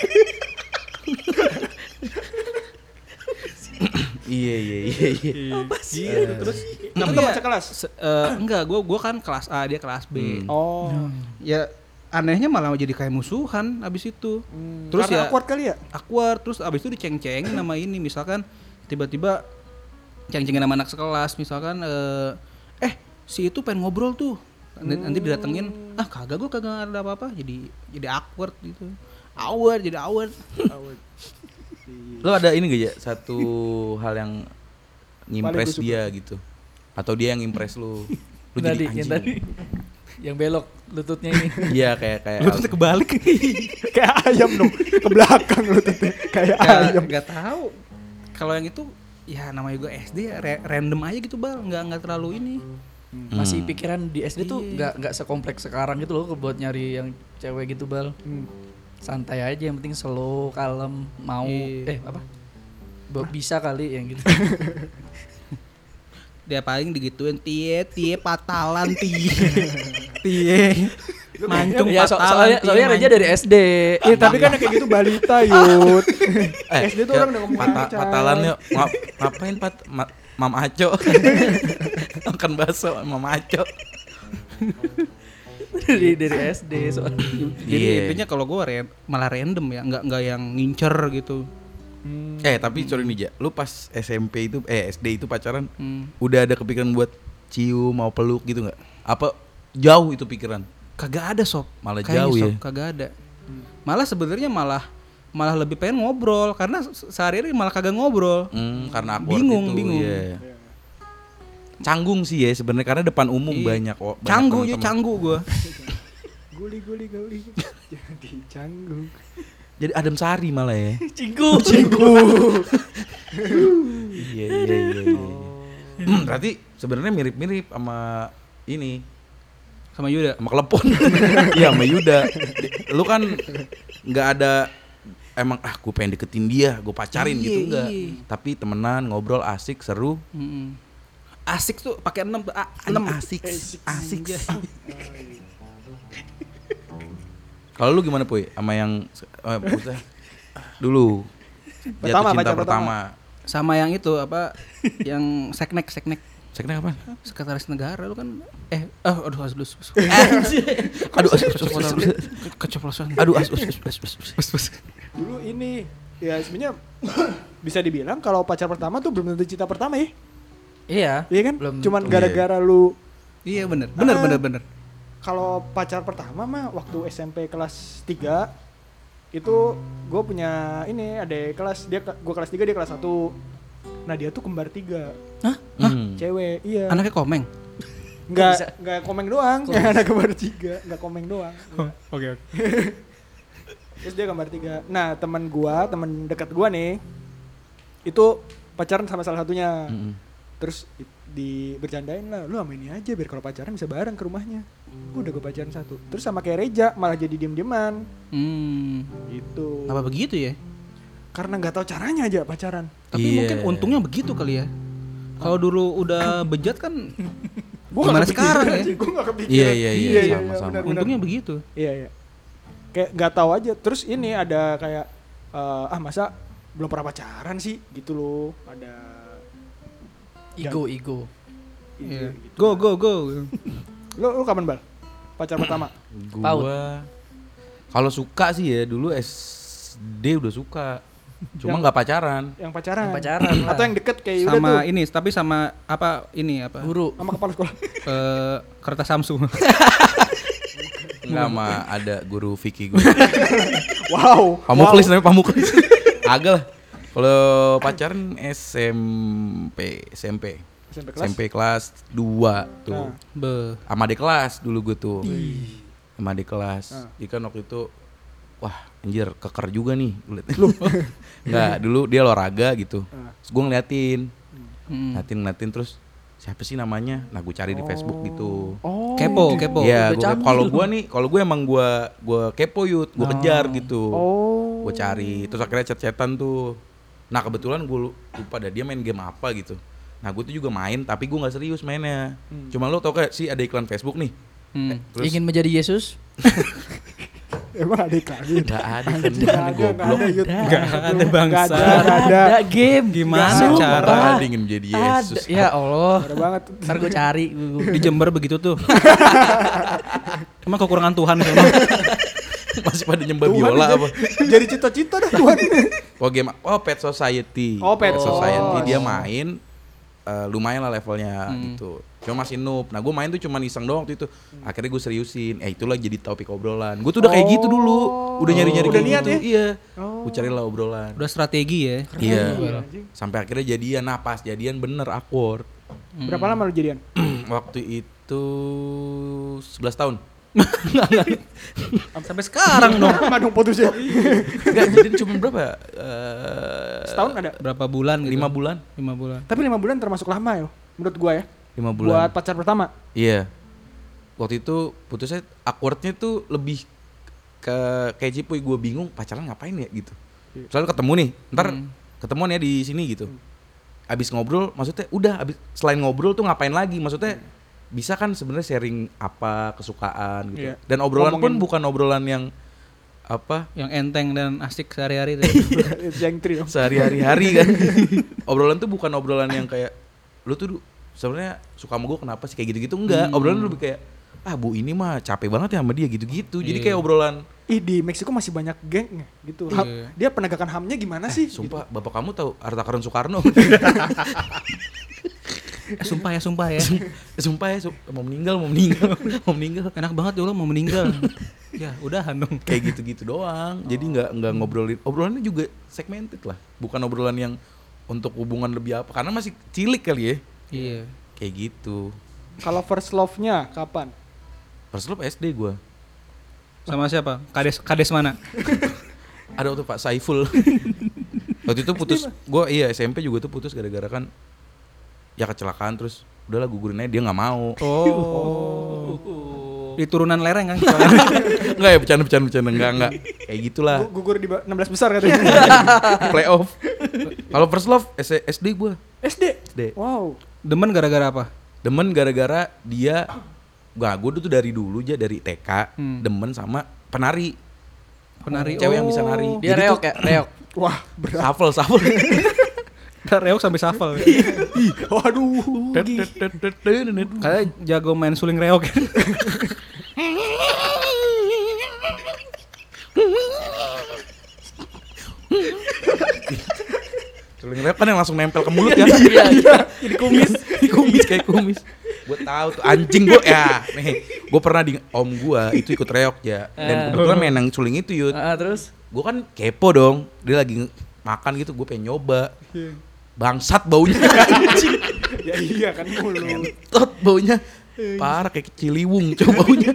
S3: iya iya iya iya
S5: Iya, terus
S1: Kamu
S5: tapi
S1: teman
S5: ya,
S1: sekelas?
S5: se- eh, enggak, gua gua kan kelas A, dia kelas B.
S1: Oh.
S5: Ya anehnya malah jadi kayak musuhan abis itu.
S1: Hmm,
S5: Terus
S1: karena
S5: ya
S1: awkward kali ya?
S5: awkward, terus abis itu diceng-cengin nama ini misalkan tiba-tiba ceng-cengin nama anak sekelas misalkan eh si itu pengen ngobrol tuh nanti, nanti didatengin
S1: Hmm.
S5: ah kagak gue kagak ada apa-apa jadi jadi awkward gitu awkward jadi awkward
S3: Lo ada ini gak ya satu hal yang ngimpress
S1: Paling gua
S3: dia gitu? Atau dia yang impress lo? Lo
S4: tadi,
S3: jadi anjing.
S4: yang tadi. Yang belok lututnya ini.
S3: Iya kayak kayak
S5: lu tuh kebalik
S1: kayak ayam dong ke belakang lu tuh kayak
S5: Ya,
S1: ayam
S5: nggak tahu kalau yang itu ya namanya juga SD ya, ra- random aja gitu bal nggak nggak terlalu ini
S4: Masih pikiran di SD tuh
S5: Iya.
S4: nggak nggak sekompleks sekarang gitu loh buat nyari yang cewek gitu bal.
S1: Hmm.
S4: Santai aja yang penting slow, kalem, mau eh
S5: Iya.
S4: apa? Bo- Bisa kali yang gitu.
S5: dia paling digituin tie tie patalan tie tie mancung
S4: ya, so- soalnya, soalnya Reja dari SD.
S1: Iya tapi kan kayak gitu balita yut SD tuh
S3: eh, kayak
S1: orang udah ngomong
S3: pata,
S1: pacar.
S3: patalan yuk. Ngap- ngapain pat ma, mam aco makan bakso mam aco
S4: dari, dari SD soalnya.
S5: jadi
S3: Iya.
S5: intinya kalau gue malah random ya nggak nggak yang ngincer gitu
S1: Hmm.
S3: eh tapi sorry nih ja lu pas SMP itu eh SD itu pacaran
S5: Hmm.
S3: udah ada kepikiran buat cium mau peluk gitu nggak apa jauh itu pikiran
S5: kagak ada sob
S3: Malah
S5: Kayaknya,
S3: jauh ya.
S5: Sob, kagak ada malah sebenarnya malah malah lebih pengen ngobrol karena se- sehari-hari malah kagak ngobrol
S3: Hmm, karena aku
S5: Bingung,
S3: itu,
S5: bingung.
S3: iya. canggung sih ya sebenarnya karena depan umum banyak kok banyak
S5: canggu ya
S3: teman-teman.
S5: canggu gue
S1: Guli guli guli jadi canggung.
S3: jadi Adam Sari malah ya
S4: Cinggu.
S3: iya iya iya, iya.
S5: Oh.
S3: Hmm, berarti sebenarnya mirip-mirip sama ini
S5: sama Yuda
S3: sama kelepon iya sama Yuda Di- lu kan nggak ada emang ah gue pengen deketin dia gue pacarin
S5: Iya,
S3: gitu enggak
S5: iya.
S3: tapi temenan ngobrol asik seru
S5: Mm-mm. asik tuh pakai enam a- enam
S3: asik asik kalau lu gimana puy sama yang eh, maksudnya, dulu jatuh
S1: Pertama,
S3: cinta
S1: pacar
S3: pertama,
S1: pertama.
S5: sama yang itu apa yang seknek seknek
S3: Seknek apa?
S5: sekretaris negara lu kan eh oh, aduh aduh aduh
S3: Aduh, aduh, aduh, aduh, aduh, aduh.
S5: keceplosan
S3: aduh, as- us- us- us- us- us.
S1: Dulu ini ya sebenarnya bisa dibilang kalau pacar pertama tuh belum tentu cinta pertama ya.
S4: Iya.
S1: Iya kan?
S4: Belum
S1: Cuman
S3: tentu.
S1: gara-gara lu
S5: iya bener bener bener bener
S1: kalau pacar pertama mah waktu SMP kelas 3 itu gue punya ini ada kelas dia gue kelas 3 dia kelas 1 nah dia tuh kembar tiga
S5: hah
S3: Hmm.
S1: cewek iya
S5: anaknya komeng
S4: bisa?
S1: nggak nggak komeng doang anak kembar tiga nggak komeng doang
S3: Oh,
S5: oke oke
S1: terus dia gambar tiga nah teman gua teman dekat gua nih itu pacaran sama salah satunya
S3: Mm-mm.
S1: terus i- di bercandain lah lu sama ini aja biar kalau pacaran bisa bareng ke rumahnya udah gua pacaran satu terus sama kayak Reja malah jadi diem dieman
S5: hmm
S1: gitu
S5: apa begitu ya
S1: karena nggak tahu caranya aja pacaran
S5: tapi
S3: Iya.
S5: mungkin untungnya begitu kali ya kalau dulu udah bejat kan
S1: gua
S5: Gimana
S1: nggak kepikiran
S5: sekarang ya?
S1: anjing, gua nggak kepikiran
S3: Iya, iya, iya, sama,
S1: benar,
S3: sama.
S1: benar.
S5: untungnya begitu
S1: Iya iya. Kayak nggak tahu aja. Terus ini ada kayak eh, ah masa belum pernah pacaran sih gitu loh. Ada
S4: Ego, ego.
S5: Iya.
S1: ide gitu.
S5: go go go
S1: Lo lo kapan bal? Pacar pertama.
S4: Paut.
S3: Gua kalau suka sih ya dulu SD udah suka. Cuma nggak pacaran.
S1: Yang pacaran.
S4: Yang pacaran lah.
S1: Atau yang deket kayak udah Eh, tuh.
S5: sama ini tapi sama apa ini apa
S4: Guru.
S1: Sama kepala sekolah.
S5: Eh, kertas Samsung
S3: Enggak sama ada guru Vicky gue.
S1: wow.
S3: Pamuklis namanya Pamuklis. Agak lah. Kalau pacaran SMP, SMP.
S1: SMP kelas.
S3: SMP kelas 2 tuh.
S1: Nah.
S5: be
S3: Sama di kelas dulu gue tuh. Sama di
S1: Ah.
S3: kelas. Dia kan waktu itu wah anjir keker juga nih gue liat. Enggak, dulu dia olahraga gitu.
S1: Ah.
S3: Terus gue ngeliatin.
S5: Hmm.
S3: ngeliatin ngeliatin terus siapa sih namanya nah gue cari di Facebook gitu
S1: Oh.
S5: kepo kepo
S3: Iya, gua
S4: udah
S3: kepo.
S4: canggih
S3: kalau
S4: lu.
S3: gue nih, kalau gue emang gue gue kepo yut, gue kejar gitu,
S1: Oh.
S3: gue cari, terus akhirnya chat-chatan tuh. Nah kebetulan gue lupa dah dia main game apa gitu. Nah gue tuh juga main, tapi gue nggak serius mainnya. Cuma lo tau kayak sih ada iklan Facebook nih.
S5: Hmm.
S3: Terus-
S4: Ingin menjadi Yesus?
S1: Emang ada kali.
S3: Gak ada
S1: Nggak
S3: kan,
S1: ada, nggak
S3: goblok.
S1: ada, Yud.
S4: Nggak
S1: Nggak
S5: ada,
S1: Nggak
S5: bangsa.
S1: ada, nggak ada.
S4: game.
S5: Gimana
S4: Sumpah.
S5: cara?
S3: Nggak ada ingin menjadi Yesus.
S4: Ada. Ya Allah.
S1: Ada banget.
S4: Ntar gue cari. gua-
S5: di Jember begitu tuh. Emang kekurangan Tuhan kan? semua.
S3: Masih pada nyembah
S1: Tuhan
S3: biola
S1: jadi-
S3: apa?
S1: Jadi cita-cita dah Tuhan.
S3: Oh game, oh Pet Society.
S1: Oh, Pet
S3: Society
S1: Society. Hmm.
S3: dia main eh, lumayan lah levelnya gitu. cuma masih noob nah gue main tuh cuma iseng doang waktu itu
S1: Hmm.
S3: akhirnya gue seriusin eh itulah jadi topik obrolan gue tuh udah kayak gitu dulu udah nyari nyari
S1: Oh. Udah
S3: kayak
S1: niat
S3: gitu
S1: ya?
S3: iya
S1: Oh.
S3: gue carilah obrolan
S5: Udah strategi ya.
S3: iya
S1: juga, anjing.
S3: sampai akhirnya jadian nah pas jadian bener awkward
S1: Berapa lama lu jadian?
S3: waktu itu 11 tahun
S5: Sampai sekarang dong.
S1: Lama dong putusnya.
S3: Enggak, jadian cuma berapa ya? Eh,
S1: Setahun ada.
S5: Berapa bulan gitu?
S3: lima bulan
S5: Lima bulan.
S1: Tapi lima bulan termasuk lama ya, menurut gua ya.
S3: lima bulan
S1: Buat pacar pertama.
S3: Iya. Waktu itu putusnya awkwardnya tuh lebih ke kayak Cipuy gue bingung pacaran ngapain ya gitu.
S1: Iya.
S3: Soalnya ketemu nih, ntar
S1: Hmm.
S3: ketemuan ya di sini gitu. Abis ngobrol, maksudnya udah abis selain ngobrol tuh ngapain lagi? Maksudnya
S1: Hmm.
S3: bisa kan sebenarnya sharing apa kesukaan
S1: Iya.
S3: gitu. Dan obrolan
S1: Ngomongin-
S3: pun bukan obrolan yang apa
S5: Yang enteng dan asik sehari-hari itu.
S1: Jengtri dong.
S3: sehari-hari hari kan. obrolan tuh bukan obrolan yang kayak lu tuh du- sebenarnya suka sama gue kenapa sih kayak gitu-gitu enggak. Obrolan lebih kayak ah bu ini mah capek banget ya sama dia gitu-gitu. Jadi kayak obrolan
S1: Ih di Meksiko masih banyak geng gitu. Ham-
S5: Iya.
S1: Dia penegakan hamnya gimana sih?
S3: Eh,
S1: Gitu.
S3: sumpah bapak kamu tahu harta karun Soekarno.
S5: Eh, sumpah ya, sumpah ya.
S3: sumpah ya su- mau meninggal mau meninggal mau meninggal
S5: Enak banget dulu mau meninggal. ya, udahan dong.
S3: kayak gitu-gitu doang. Jadi nggak nggak ngobrolin obrolannya juga segmented lah. Bukan obrolan yang untuk hubungan lebih apa karena masih cilik kali ya.
S5: Iya.
S3: Kayak gitu.
S1: Kalau first love-nya kapan?
S3: First love SD gua.
S5: Sama siapa? Kades kades mana?
S3: ada waktu Pak Saiful waktu itu putus gue iya SMP juga tuh putus gara-gara kan ya kecelakaan terus udahlah gugurin aja dia nggak mau
S5: Oh. Di turunan lereng kan. soalnya.
S3: nggak ya bercanda bercanda bercanda nggak nggak kayak gitulah
S1: Gu- Gugur di ba- 16 besar katanya.
S3: playoff kalau first love S- SD gue
S1: SD.
S3: SD
S1: Wow.
S5: Demen gara-gara apa?
S3: demen gara-gara dia gak gue tuh dari dulu aja dari TK
S4: Hmm.
S3: demen sama penari
S5: Penari.
S3: cewek yang bisa nari
S4: Dia reok ya, reok.
S1: Wah.
S3: shuffle shuffle
S5: Oh, reok sampai shuffle.
S1: Waduh.
S5: Kayak jago main suling reok.
S3: Celing rap kan yang langsung nempel ke mulut ya.
S4: Iya, iya.
S3: Di kumis, di kumis kayak kumis. Gue tahu tuh anjing gue ya. Nih, gue pernah di om gue itu ikut reok ya.
S4: Eh.
S3: Dan kebetulan main yang suling itu yut.
S4: Ah, terus
S3: Gue kan kepo dong. Dia lagi nge- makan gitu, gue pengen nyoba. Bangsat baunya anjing.
S1: ya iya kan mulu.
S3: Tot baunya parah kayak keciliwung coba baunya.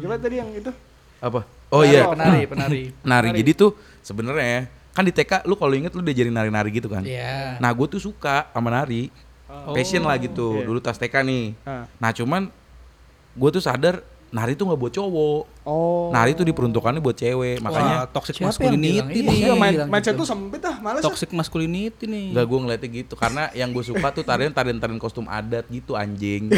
S1: Gimana tadi yang itu?
S3: Apa? Oh iya.
S4: penari, penari.
S3: Nari. Jadi tuh sebenarnya kan di TK lu kalau inget lu diajarin nari-nari gitu kan.
S4: Iya.
S3: Nah gue tuh suka sama nari Passion lah
S1: Iya.
S3: gitu Dulu tas TK nih
S1: Ah.
S3: Nah cuman Gue tuh sadar Nari tuh gak buat cowok
S1: Oh.
S3: Nari tuh diperuntukannya buat cewek Makanya
S5: Wah, toxic
S4: Siapa yang bilang?
S5: masculinity
S4: Iya,
S5: nih.
S1: Iya, main
S4: bilang
S1: main
S4: gitu.
S1: chat tuh sempit ah, males ah.
S5: Toxic masculinity nih.
S3: Enggak gue ngeliatnya gitu Karena yang gue suka tuh tarian-tarian kostum adat gitu anjing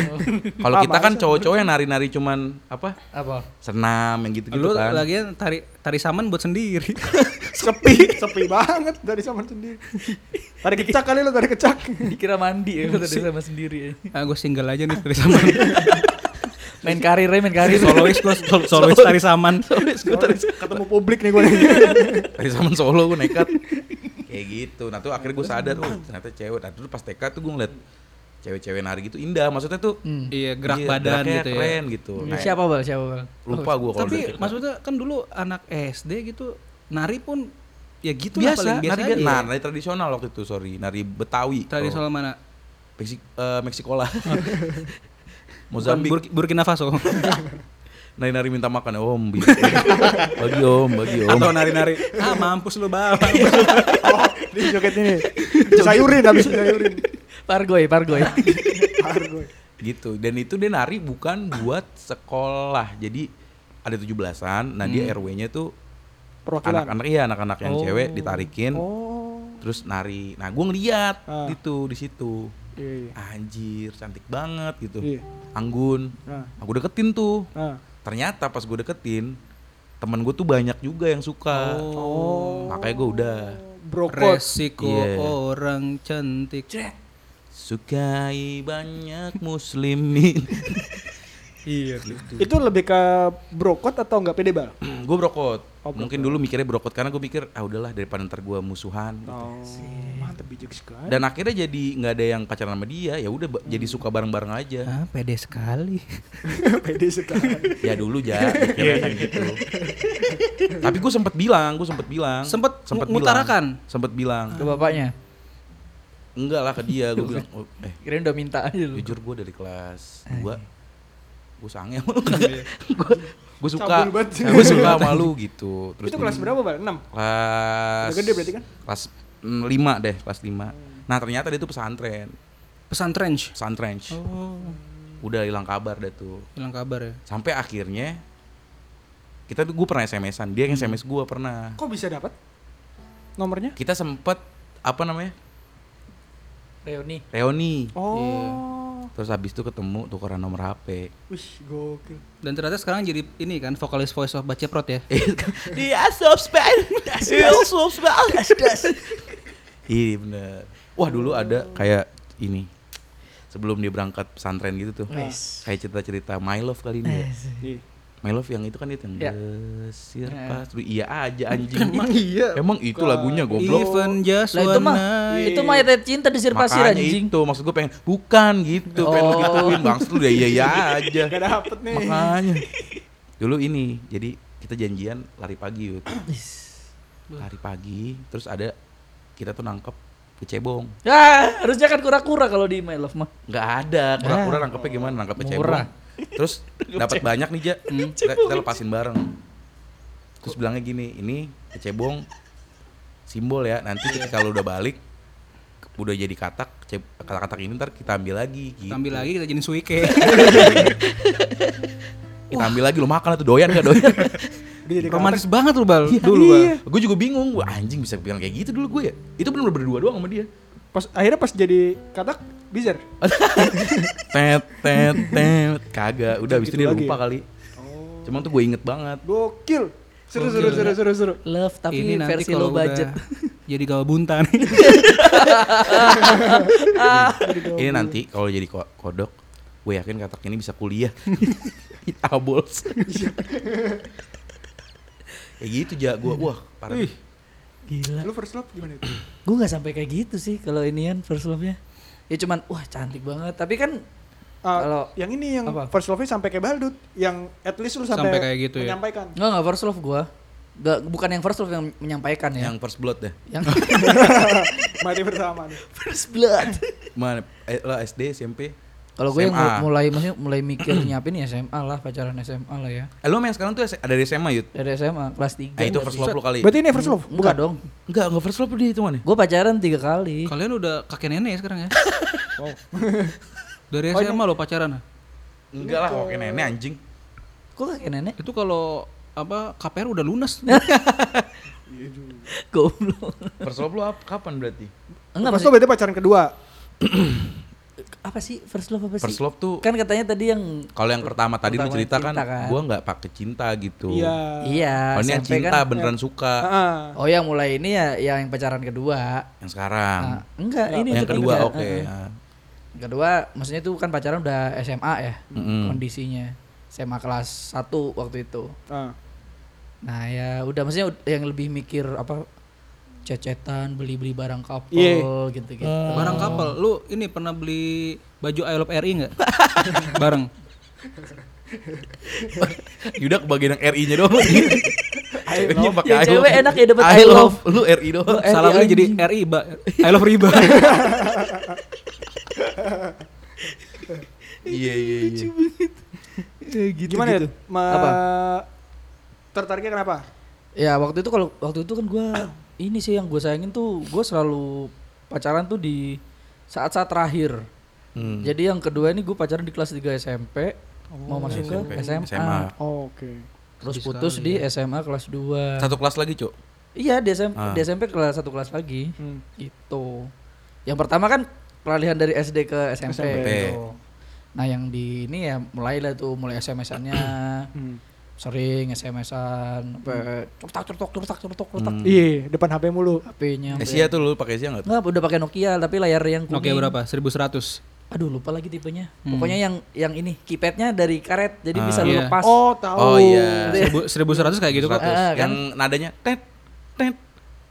S3: Kalau
S1: Ah,
S3: kita kan
S1: masa?
S3: cowok-cowok yang nari-nari cuman Apa?
S4: Apa?
S3: Senam yang
S5: Lu
S3: gitu-gitu kan
S5: lagian tari tari saman buat sendiri.
S1: Sepi, sepi banget dari zaman sendiri. Tadi kecak kali lo, tadi kecak.
S4: Dikira mandi ya tadi sama sendiri.
S5: ah, gue single aja nih tari saman.
S4: Main karirnya, main karir.
S5: solois gue sol- solois tari saman.
S1: Ketemu publik nih gue.
S3: Dari zaman Solo gue nekat Kayak gitu Nah tuh akhirnya gue sadar Oh ternyata cewek Nah dulu pas TK tuh gue ngeliat Cewek-cewek nari gitu indah Maksudnya tuh
S5: Iya, gerak
S3: Iya,
S5: badan
S3: geraknya
S5: gitu ya.
S3: keren gitu. Nah,
S4: Iya, Siapa bal? Siapa Oh, bal?
S3: Lupa gue kalau
S5: Tapi
S3: dari TK.
S5: maksudnya kan dulu anak SD gitu nari pun ya gitu lah
S3: biasa,
S5: paling biasa
S3: nari,
S5: aja.
S3: biasa. Nah, nari tradisional waktu itu, sorry, nari Betawi.
S5: Tari
S3: kalau-
S5: soal mana?
S3: Meksi- eh, Meksikola.
S5: Bukan
S3: Mozambik.
S5: Burki- Burkina Faso.
S3: Nari-nari minta makan om. Bi. bagi om, bagi om.
S5: Atau nari-nari. Ah, mampus lu, Bang.
S1: Oh, di joget ini. Sayurin habis sayurin.
S4: Pargoy, Pargoy.
S1: Par gue.
S3: gitu. Dan itu dia nari bukan buat sekolah. Jadi ada 17-an, nah dia RW-nya tuh
S1: Hmm. Perwakilan.
S3: anak-anak iya anak-anak yang cewek ditarikin
S1: Oh.
S3: terus nari. Nah, gue ngeliat
S1: Ah.
S3: gitu di situ.
S1: Iya. iya.
S3: Anjir, cantik banget gitu.
S1: Iya.
S3: Anggun.
S1: Nah.
S3: Aku deketin tuh.
S1: Nah.
S3: Ternyata pas gue deketin, temen gue tuh banyak juga yang suka.
S1: Oh.
S3: Makanya gue udah
S1: Brokot.
S5: Resiko
S3: Iya.
S5: orang cantik.
S3: sukai banyak muslimin.
S5: Iya.
S1: Itu lebih ke brokot atau enggak pede bal?
S3: gue brokot.
S1: Oh,
S3: Mungkin dulu mikirnya brokot karena gue pikir ah udahlah daripada ntar gue musuhan. gitu.
S1: Oh. Mantap bijak sekali.
S3: Dan akhirnya jadi nggak ada yang pacaran sama dia, ya udah
S1: Hmm.
S3: ba- jadi suka bareng-bareng aja.
S5: Ah, pede sekali.
S1: pede sekali.
S3: ya dulu
S1: Iya,
S3: ja mikirnya kayak gitu tapi gue sempet bilang gue sempet bilang
S5: Sempet
S3: sempet
S5: mu- mutarakan?
S3: bilang, sempet bilang
S4: Ke bapaknya.
S3: enggak lah ke dia gue bilang "Oh, eh
S4: Kirain udah minta aja lu.
S3: jujur gue dari kelas
S1: Eh.
S3: dua gue sange sama lu gue gue suka
S1: Cabul banget.
S3: gue suka sama lu gitu
S1: Itu
S3: terus dia-
S1: kelas berapa, Bal? 6.
S3: kelas
S1: Udah gede berarti kan?
S3: kelas mm, lima deh kelas lima nah ternyata dia tuh pesantren
S5: Pesan trench.
S3: pesantren
S5: Oh,
S3: udah hilang kabar dah tuh
S5: hilang kabar ya.
S3: sampai akhirnya kita tuh gue pernah SMS-an dia yang
S1: Hmm.
S3: SMS gue pernah
S1: Kok bisa dapat nomornya?
S3: kita sempet apa namanya
S4: Reuni.
S3: reuni
S1: Oh.
S3: terus habis itu ketemu tukeran nomor HP
S1: Wih, gokil.
S5: Dan ternyata sekarang jadi ini kan vokalis voice of Baceprot ya.
S4: Dia subscribe. Dia subscribe.
S3: iya bener wah dulu ada kayak ini sebelum dia berangkat pesantren gitu tuh
S4: Wes.
S3: kayak cerita-cerita my love kali ini ya.
S1: Ih.
S3: my love yang itu kan itu yang
S4: Ya.
S3: desir
S4: Ya.
S3: pas Duh, iya aja anjing
S5: iya.
S3: emang itu lagunya goblok
S5: Even just
S4: Lah itu
S5: one
S4: mah
S5: night.
S4: itu mah ayat cinta di Iya, pasir
S3: makanya
S4: anjing.
S3: itu maksud gue pengen bukan gitu pengen
S4: Oh.
S3: gituin bang lu udah iya iya aja
S1: Gak dapet nih.
S3: makanya dulu ini jadi kita janjian lari pagi yuk lari pagi terus ada kita tuh nangkep kecebong
S4: Ya, harusnya kan kura-kura kalau di My Love mah.
S3: nggak ada kura-kura nangkepnya gimana nangkep kecebong
S4: Murah.
S3: terus dapat banyak nih ja kita, kita lepasin bareng terus bilangnya gini ini kecebong simbol ya nanti ketika lu udah balik udah jadi katak kece- katak-katak ini ntar kita ambil lagi gitu.
S5: Kita ambil lagi kita jadiin suike.
S3: kita ambil lagi lu makan tuh doyan gak doyan
S1: Udah jadi
S5: Romantis banget lu Bal.
S4: Iya,
S3: dulu
S5: Dulu Bal.
S3: gue juga bingung gue anjing bisa bilang kayak gitu dulu gue ya itu benar berdua doang sama dia
S1: katak. Pas akhirnya pas jadi katak bizar.
S3: tet tet tet kagak udah habis itu
S1: Gitu
S3: dia
S1: lagi
S3: lupa
S1: ya?
S3: kali cuman tuh gue inget banget
S1: Gokil. Seru seru seru seru seru.
S4: Love tapi
S5: ini nanti
S4: versi low
S5: kalau udah
S4: budget. Iya.
S5: jadi gawa buntan.
S1: Iya, gitu.
S3: ini nanti kalau jadi ko- kodok gue yakin katak ini bisa kuliah abols kayak gitu ja gue wah parah
S4: Gila.
S1: Lu first love gimana itu?
S4: Gue nggak sampai kayak gitu sih kalau inian first love-nya. Ya cuman wah cantik banget, tapi kan
S1: Ah,
S4: Kalau-
S1: yang ini yang
S4: apa?
S1: first love-nya sampai kayak baldut, yang at least lu sampai,
S5: Sampai kayak gitu ya?
S1: menyampaikan.
S4: enggak enggak first love gua. Nggak, bukan yang first love yang menyampaikan ya.
S3: yang first blood deh
S4: Yang
S1: Mati bersama nih.
S4: first blood.
S3: mana eh, lah SD SMP
S4: Kalau gue yang
S3: SMA.
S4: mu- mulai maksudnya mulai mikir nyiapin ya SMA lah, pacaran SMA lah ya.
S3: eh, lu main sekarang tuh ada di SMA yud
S4: Dari SMA kelas 3.
S3: nah itu first love lu kali
S1: Berarti ini first love?
S4: Bukan dong.
S3: enggak enggak first love dia itu mana
S4: Gue pacaran tiga kali.
S5: Kalian udah kakek nenek ya sekarang ya.
S1: Oh.
S5: Dari
S4: Oh, iya.
S5: SMA lo pacaran. ya?
S3: enggak lah oke nenek anjing
S4: Kok kayak nenek?
S5: Itu kalau apa KPR udah lunas.
S4: Goblok.
S3: First love lu ap- kapan berarti?
S4: Enggak
S1: First
S4: maksud
S1: love berarti pacaran kedua.
S4: apa sih first love apa sih?
S3: First love tuh
S4: Kan katanya tadi yang
S3: kalau yang pertama tadi lu
S4: Pertama
S3: cerita kan,
S4: cinta kan.
S3: gua nggak pakai cinta gitu.
S1: Iya. Ah,
S4: iya,
S3: Kalau oh, ini yang
S4: SMP
S3: cinta
S4: kan.
S3: beneran suka
S1: Heeh.
S4: Oh, yang mulai ini ya yang pacaran kedua.
S3: yang sekarang.
S4: Nah, enggak, ini
S3: yang
S4: ketiga.
S3: kedua oke.
S4: Heeh.
S3: ah.
S4: Kedua, maksudnya itu kan pacaran udah SMA ya
S3: Mm-mm.
S4: kondisinya. SMA kelas 1 waktu itu.
S1: Ah.
S4: Nah, ya udah maksudnya ud- yang lebih mikir apa cecetan, beli-beli barang couple
S1: Iya.
S4: gitu-gitu.
S5: Oh. Barang kapal. Lu ini pernah beli baju I Love RI enggak? Bareng.
S3: Yuda kebagian yang RI-nya doang. Ceweknya pakai
S4: Ya,
S3: I
S4: cewek
S3: love.
S4: enak ya dapat
S3: I love. Lu RI doang.
S4: RI
S5: Salah lu ya. jadi RI, ba. I Love Riba.
S3: Iya iya iya.
S1: Gimana ya? Ma-
S4: Gitu, Apa?
S1: Tertariknya kenapa?
S4: Ya, waktu itu kalau waktu itu kan gua ini sih yang gue sayangin tuh gue selalu pacaran tuh di saat-saat terakhir.
S3: Hmm.
S4: Jadi yang kedua ini gue pacaran di kelas 3 SMP, mau masuk
S3: SMP.
S4: ke SMA.
S3: SMA.
S4: Oh,
S1: Oke.
S4: Terus putus di SMA kelas 2.
S3: Satu kelas lagi, Cuk.
S4: Iya, di SMP,
S3: Ah.
S4: di SMP kelas satu kelas lagi.
S1: Hmm.
S4: Gitu. Yang pertama kan peralihan dari SD ke SMP.
S1: SMP.
S4: gitu. Nah, yang di ini ya mulailah tuh mulai SMS-annya.
S1: Hmm.
S4: sering SMS-an, cetak cetak cetak cetak cetak
S1: Iya, depan HP mulu.
S4: HP-nya.
S3: Asia Eh, tuh lu pakai Asia enggak?
S4: Enggak, udah pakai Nokia tapi layar yang kuning.
S5: Nokia berapa? 1100.
S4: Aduh, lupa lagi tipenya. Pokoknya yang yang ini keypadnya dari karet, jadi bisa lu
S5: iya.
S4: lepas.
S1: Oh, tahu.
S3: Oh iya. kan?
S5: Seribu- 1100 kayak gitu, Pak.
S4: Ah, kan?
S3: Yang nadanya tet tet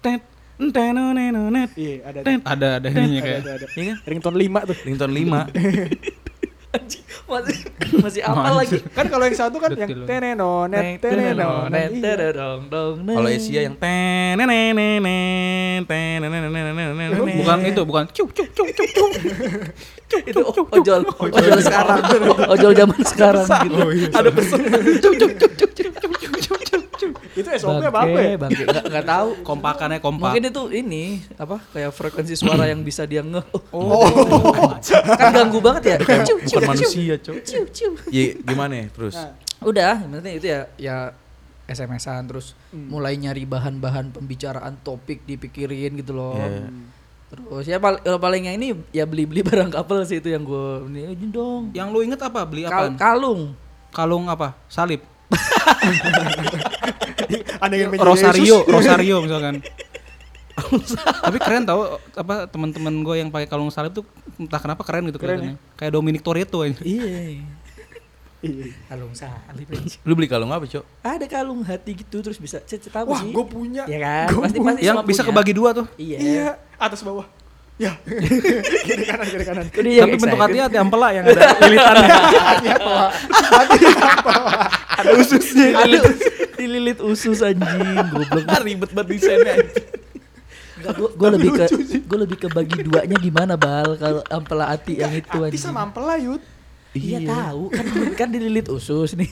S3: tet Enteno neno net.
S1: Iya, ada ada.
S5: Ada ada
S1: Ada
S5: ininya kayak.
S1: ada. ada.
S3: Iya kan?
S1: Ringtone 5 tuh.
S3: Ringtone 5.
S4: Anjing, masih masih apa lagi?
S1: Kan kalau yang satu kan yang
S5: Detil.
S1: tenenonet tenenonet. iya.
S3: Kalau Asia yang tenenenenen, tenenenenen.
S5: Bukan itu, bukan cuk cuk cuk cuk cuk.
S4: itu ojol ojol sekarang ojol zaman sekarang gitu ada pesan cuk cuk cuk cuk cuk cuk cuk cuk cuk cuk
S1: iya, Itu SOP apa apa ya?
S4: bangke nggak nggak tahu
S5: Kompakannya kompak.
S4: mungkin itu ini apa kayak frekuensi suara yang bisa dia nge oh, kan ganggu banget ya Cuk, cuk,
S3: Bukan
S4: cuk,
S3: manusia, Cok.
S4: cuk, cuk.
S3: Ya gimana ya terus?
S1: Nah,
S4: udah yang penting itu ya ya SMS-an terus mulai nyari bahan-bahan pembicaraan topik dipikirin gitu loh
S3: Iya.
S4: terus ya pal- kalau paling yang ini ya beli-beli barang couple sih itu yang gue ini "Ini dong
S5: Yang lu inget apa? Beli
S4: Kal-
S5: apa?
S4: kalung
S5: Kalung apa? Salib.
S1: ada yang meja
S5: Rosario,
S1: Yesus.
S5: Rosario misalkan. Tapi keren tau apa teman-teman gue yang pakai kalung salib tuh entah kenapa keren gitu
S1: Keren ya?
S5: kelihatannya. Kayak Dominic Toretto aja.
S4: iya
S1: Iya, iya.
S4: kalung salib
S3: Lu beli kalung apa, Cok?
S4: ada kalung hati gitu terus bisa cet tahu
S1: Wah,
S4: sih
S1: gue punya.
S4: ya kan
S1: Gua
S4: pasti
S1: punya.
S4: pasti
S5: Yang
S4: semua
S5: bisa
S4: punya.
S5: kebagi dua tuh.
S4: iya
S1: Iya, atas bawah. Ya. kiri kanan kiri kanan.
S4: Udah yang
S5: Tapi bentuk
S4: excited.
S5: hatinya hati ampela yang ada lilitannya.
S4: ada ususnya ada dililit usus anjing goblok ribet banget desainnya gue lebih ke gue lebih ke bagi duanya gimana bal kalau ampela ati yang itu
S1: Ati
S4: anjing
S1: Iya, sama ampela yud.
S4: iya tahu kan kan dililit usus nih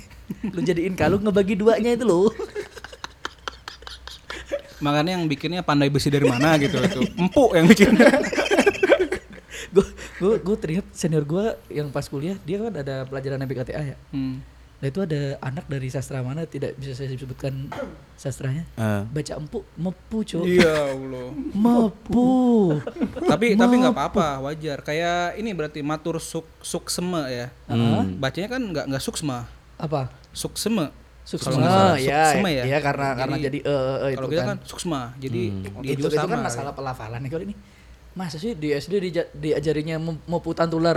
S4: lu jadiin kalung ngebagi duanya itu loh
S5: Makanya yang bikinnya pandai besi dari mana gitu itu. Empuk yang bikinnya.
S4: gue gue gue teringat senior gue yang pas kuliah dia kan ada pelajaran MPKTA ya
S5: Hmm.
S4: nah itu ada anak dari sastra mana tidak bisa saya sebutkan sastranya
S3: Eh.
S4: baca empuk mepu cok
S5: Iya Allah.
S4: mepu
S5: tapi tapi nggak apa-apa wajar kayak ini berarti matur suk sukseme ya
S3: Hmm.
S5: bacanya kan nggak nggak suksma
S4: apa
S5: sukseme
S4: Suksma,
S5: Kalau nggak salah,
S4: ya,
S5: suksma
S4: ya.
S5: ya.
S4: karena karena jadi
S5: Jadi,
S4: eh eh, eh,
S5: kalau
S4: itu
S5: kita
S4: kan.
S5: kan suksma jadi dia
S4: itu,
S5: juga
S4: itu
S5: sama
S4: kan masalah
S3: ya.
S4: pelafalan nih kalau ini. Masa sih di SD dija- diajarinya mem- mepu tantular.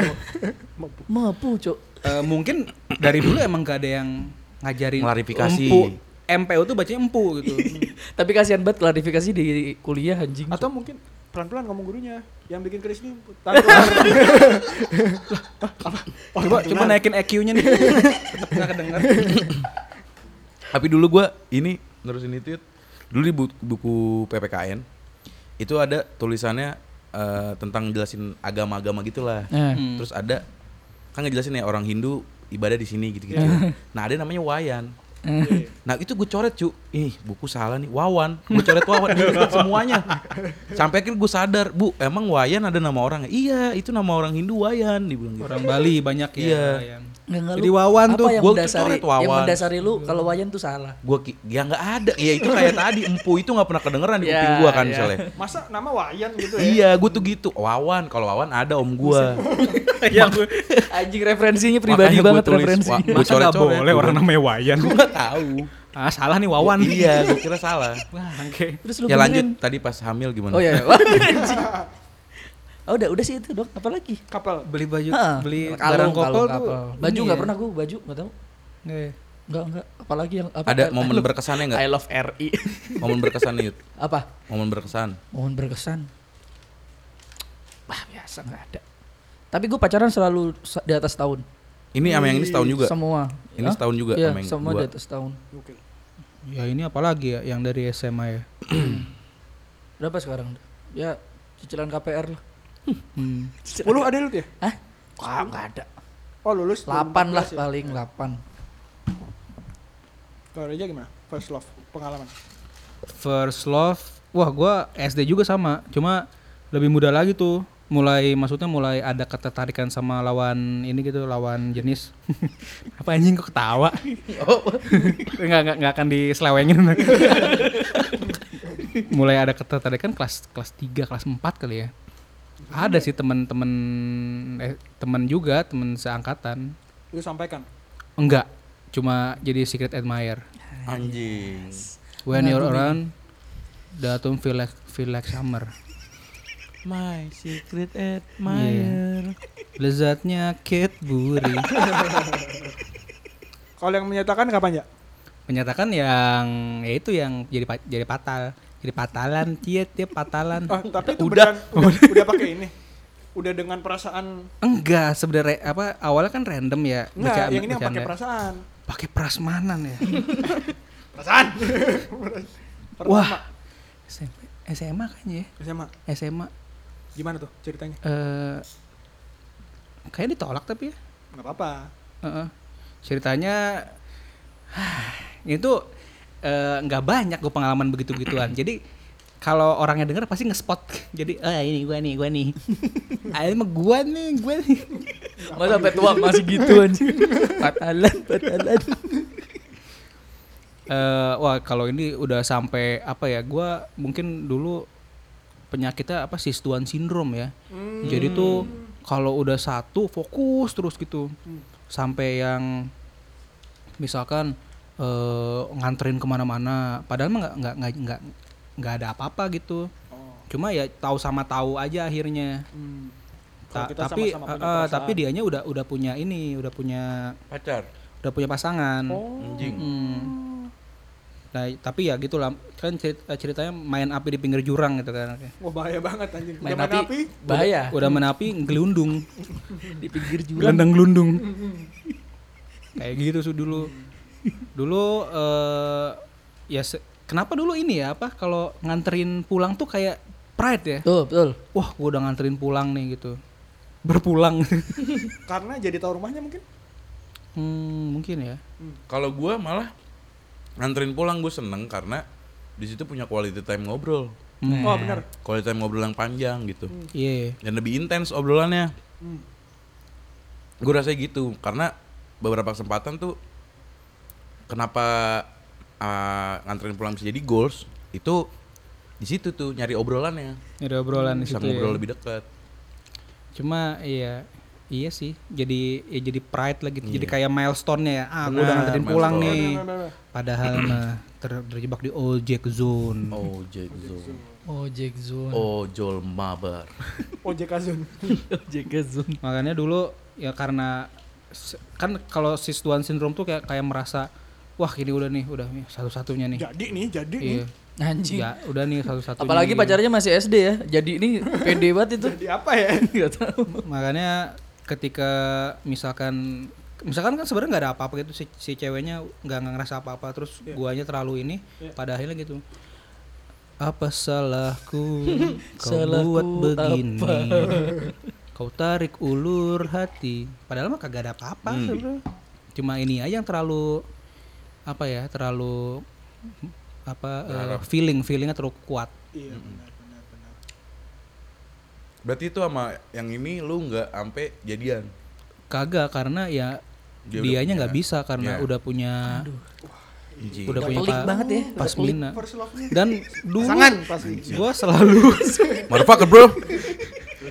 S4: mepu, Cok.
S5: Eh, mungkin dari dulu emang gak ada yang ngajarin
S3: Klarifikasi.
S5: empu MPU tuh bacanya empu gitu
S4: Tapi kasihan banget klarifikasi di kuliah anjing. Eh,
S1: Atau mungkin pelan-pelan ngomong gurunya yang bikin keris ini tantular.
S5: coba coba naikin EQ-nya nih tetap nggak kedengar
S3: Tapi dulu gua ini nerusin itu Yud. dulu di bu- buku PPKN itu ada tulisannya eh, tentang jelasin agama-agama gitulah.
S4: Eh.
S5: Hmm.
S3: Terus ada kan ngejelasin ya orang Hindu ibadah di sini gitu-gitu. Nah, ada namanya wayan. Nah, itu gue coret, cu. Ih, buku salah nih. Wawan. Gue coret Wawan Gua coret semuanya. Sampai akhirnya gue sadar, "Bu, emang wayan ada nama orang?" "Iya, itu nama orang Hindu wayan," dibilang gitu.
S5: orang Bali banyak ya
S3: Iya.
S5: yang
S4: Nggak, nggak,
S5: Jadi
S4: lu.
S5: Wawan
S4: apa
S5: tuh,
S4: yang
S3: gua
S4: mendasari,
S3: coret Wawan.
S4: yang mendasari lu kalau Wayan tuh salah.
S3: Gua ki- ya nggak ada. Ya itu kayak tadi empu itu nggak pernah kedengeran di
S4: Ya,
S5: Iya,
S3: kuping gua kan
S4: ya.
S3: misalnya.
S1: Masa nama Wayan gitu ya?
S3: Iya, gue tuh gitu. Wawan, kalau Wawan ada om gua.
S5: yang gue
S4: anjing referensinya pribadi
S3: Makanya gua
S4: banget
S3: tulis,
S4: referensi.
S3: Wa-
S5: masa
S3: coret-coret,
S5: nggak boleh
S3: gua.
S5: orang namanya Wayan
S3: Gua nggak tahu.
S5: ah salah nih Wawan
S3: Iya, gue kira salah.
S5: Oke.
S4: Terus lu
S3: ya lanjut
S4: benerin.
S3: tadi pas hamil gimana?
S4: Oh iya. iya. Wah, anjing. Oh, udah udah sih itu, Dok. Apalagi?
S1: Kapal.
S5: beli baju
S4: Heeh.
S5: beli barang
S4: Kalung,
S5: kopel
S4: kalung,
S5: tuh
S4: kapal.
S3: Iya.
S4: Baju nggak pernah gua baju, nggak tahu.
S5: Iya.
S4: Enggak, enggak. Apalagi yang apa?
S3: Ada
S4: I-
S3: momen
S4: I love-
S3: berkesannya
S4: I
S3: nggak?
S4: love RI.
S3: Momen berkesan Yud.
S4: apa?
S3: Momen berkesan.
S4: Momen berkesan. Wah, biasa nggak ada. Tapi gue pacaran selalu sa- di atas tahun.
S3: Ini sama yang ini setahun juga.
S4: Semua.
S3: Ini
S4: Hah?
S3: setahun juga
S4: Iya,
S3: sama yang
S4: semua
S3: gua.
S4: di atas tahun.
S1: Oke.
S5: ya ini apalagi ya yang dari SMA ya
S4: Berapa sekarang? Ya cicilan KPR lah.
S5: hmm.
S1: 10 ada lu ya?
S4: Hah? Wah, nggak ada.
S1: Oh, lulus
S4: 8 lah
S1: 2014 ya?
S4: paling 8.
S1: Kalau Reja gimana? First love, pengalaman.
S5: first love wah gua SD juga sama cuma lebih muda lagi tuh mulai maksudnya mulai ada ketertarikan sama lawan ini gitu lawan jenis apa anjing kok ketawa nggak nggak nggak akan diselewengin mulai ada ketertarikan kelas kelas 3 kelas 4 kali ya ada sih temen-temen eh, temen juga temen seangkatan
S1: Lu sampaikan.
S5: Enggak, cuma jadi secret admirer.
S3: Anjing.
S5: When you're around, datum feel like feel like summer.
S3: My secret
S5: admirer. Iya. Lezatnya Cadbury.
S1: Kalau yang menyatakan kapan ya?
S5: Menyatakan yang ya itu yang jadi pa- jadi fatal. Jadi patalan, tiet tiap patalan.
S1: Ah, tapi itu
S5: Hmm.
S1: beneran
S5: Udah.
S1: udah, udah pakai ini. Udah dengan perasaan
S5: Enggak, sebenarnya apa awalnya kan random ya
S1: enggak,
S5: bacaan-
S1: yang ini yang pakai
S5: bacaannya.
S1: perasaan.
S5: Pakai prasmanan ya.
S1: Perasaan.
S5: Wah. SMP, SMA kan ya.
S1: SMA
S5: SMA
S1: gimana tuh ceritanya?
S5: eh kayaknya ditolak tapi ya.
S1: Enggak apa-apa.
S5: Heeh. Ceritanya itu eh, nggak banyak gue pengalaman begitu-begituan. Jadi kalau orangnya denger pasti ngespot. Jadi oh ini gua nih, gua nih. ah ini mah gua nih, gua nih.
S4: Masa sampai tua masih gitu anjing. Patalan, patalan.
S5: Eh, wah kalau ini udah sampai apa ya? Gua mungkin dulu penyakitnya apa sistuan sindrom ya. Jadi tuh
S1: Hmm.
S5: kalau udah satu fokus terus gitu sampai yang misalkan eh, nganterin kemana-mana. Padahal mah nggak nggak nggak nggak nggak ada apa-apa gitu.
S1: Oh.
S5: Cuma ya tahu sama tahu aja akhirnya.
S1: Hmm. Kalau
S5: Ta-
S1: kita
S5: tapi
S1: sama-sama
S5: eh,
S1: punya
S5: eh,
S1: perasaan.
S5: tapi dianya udah udah punya ini, udah punya
S3: Pacar.
S5: udah punya pasangan.
S1: Oh.
S3: Anjing.
S5: Hmm. Nah, tapi ya gitulah kan cerit- ceritanya main api di pinggir jurang gitu kan.
S1: Wah bahaya banget anjing. Udah
S4: Main api, bahaya.
S5: Udah main api ngelundung,
S4: Di pinggir jurang.
S5: gelendang gelundung. Kayak gitu sih dulu. Dulu eh ya se- kenapa dulu ini ya apa kalau nganterin pulang tuh kayak pride ya.
S4: Tuh, betul.
S5: Wah, gua udah nganterin pulang nih gitu. Berpulang.
S1: Karena jadi tahu rumahnya mungkin.
S5: hmm, mungkin ya.
S3: Kalau gua malah nganterin pulang gue seneng karena di situ punya quality time ngobrol.
S5: Hmm.
S1: Oh benar.
S3: Quality time ngobrol yang panjang gitu.
S4: Mm.
S5: Iya.
S3: Dan lebih intens obrolannya.
S1: Hmm.
S3: Gue rasanya gitu karena beberapa kesempatan tuh kenapa ah, nganterin pulang bisa jadi goals itu di situ tuh nyari obrolannya.
S5: Ada obrolan di
S3: Bisa
S5: situ.
S3: ngobrol
S5: ya.
S3: lebih dekat.
S5: Cuma iya iya sih. Jadi ya jadi pride lah gitu. Jadi kayak milestone-nya ya. Ah, gua udah
S3: Iya. Benar,
S5: nganterin pulang
S3: milestone.
S5: nih.
S1: Oh, Benar, benar, benar.
S5: Padahal mah ter- terjebak di ojek zone.
S3: Oh, Zone.
S4: Ojek zone.
S3: Oh, Jol Mabar.
S1: OJK Zone.
S4: Ojek Oh, zone.
S5: Makanya dulu ya karena se- kan kalau sistuan sindrom tuh kayak kayak merasa wah ini udah nih, udah nih satu-satunya nih.
S1: Jadi nih, jadi nih.
S5: Iya.
S4: Anjing.
S5: Ya, udah nih satu-satunya.
S4: Apalagi
S5: gitu.
S4: pacarnya masih SD ya. Jadi ini pede banget itu.
S1: Jadi apa ya?
S4: Enggak tahu.
S5: makanya ketika misalkan misalkan kan sebenarnya nggak ada apa-apa gitu si, si ceweknya nggak nggak ngerasa apa-apa terus
S3: Iya.
S5: guanya terlalu ini pada akhirnya gitu apa salahku kau
S4: Salahku
S5: buat begini
S4: apa?
S5: kau tarik ulur hati padahal mah kagak ada apa-apa
S3: Hmm.
S5: sebenarnya. cuma ini aja yang terlalu apa ya terlalu apa
S3: Ya,
S5: eh, feeling feelingnya terlalu kuat
S1: Iya benar benar benar.
S3: Berarti itu sama yang ini lu nggak ampe jadian.
S5: kagak karena ya
S3: Dia udah
S5: dianya
S3: punya.
S5: nggak bisa karena
S3: Iya.
S5: udah punya
S3: Anjing.
S5: udah punya
S4: pelik
S5: pa-
S4: banget ya.
S5: pasmina
S1: First love-nya.
S5: Nah. dan dulu
S1: Pasangan pasti.
S5: gue selalu
S3: Motherfucker, bro.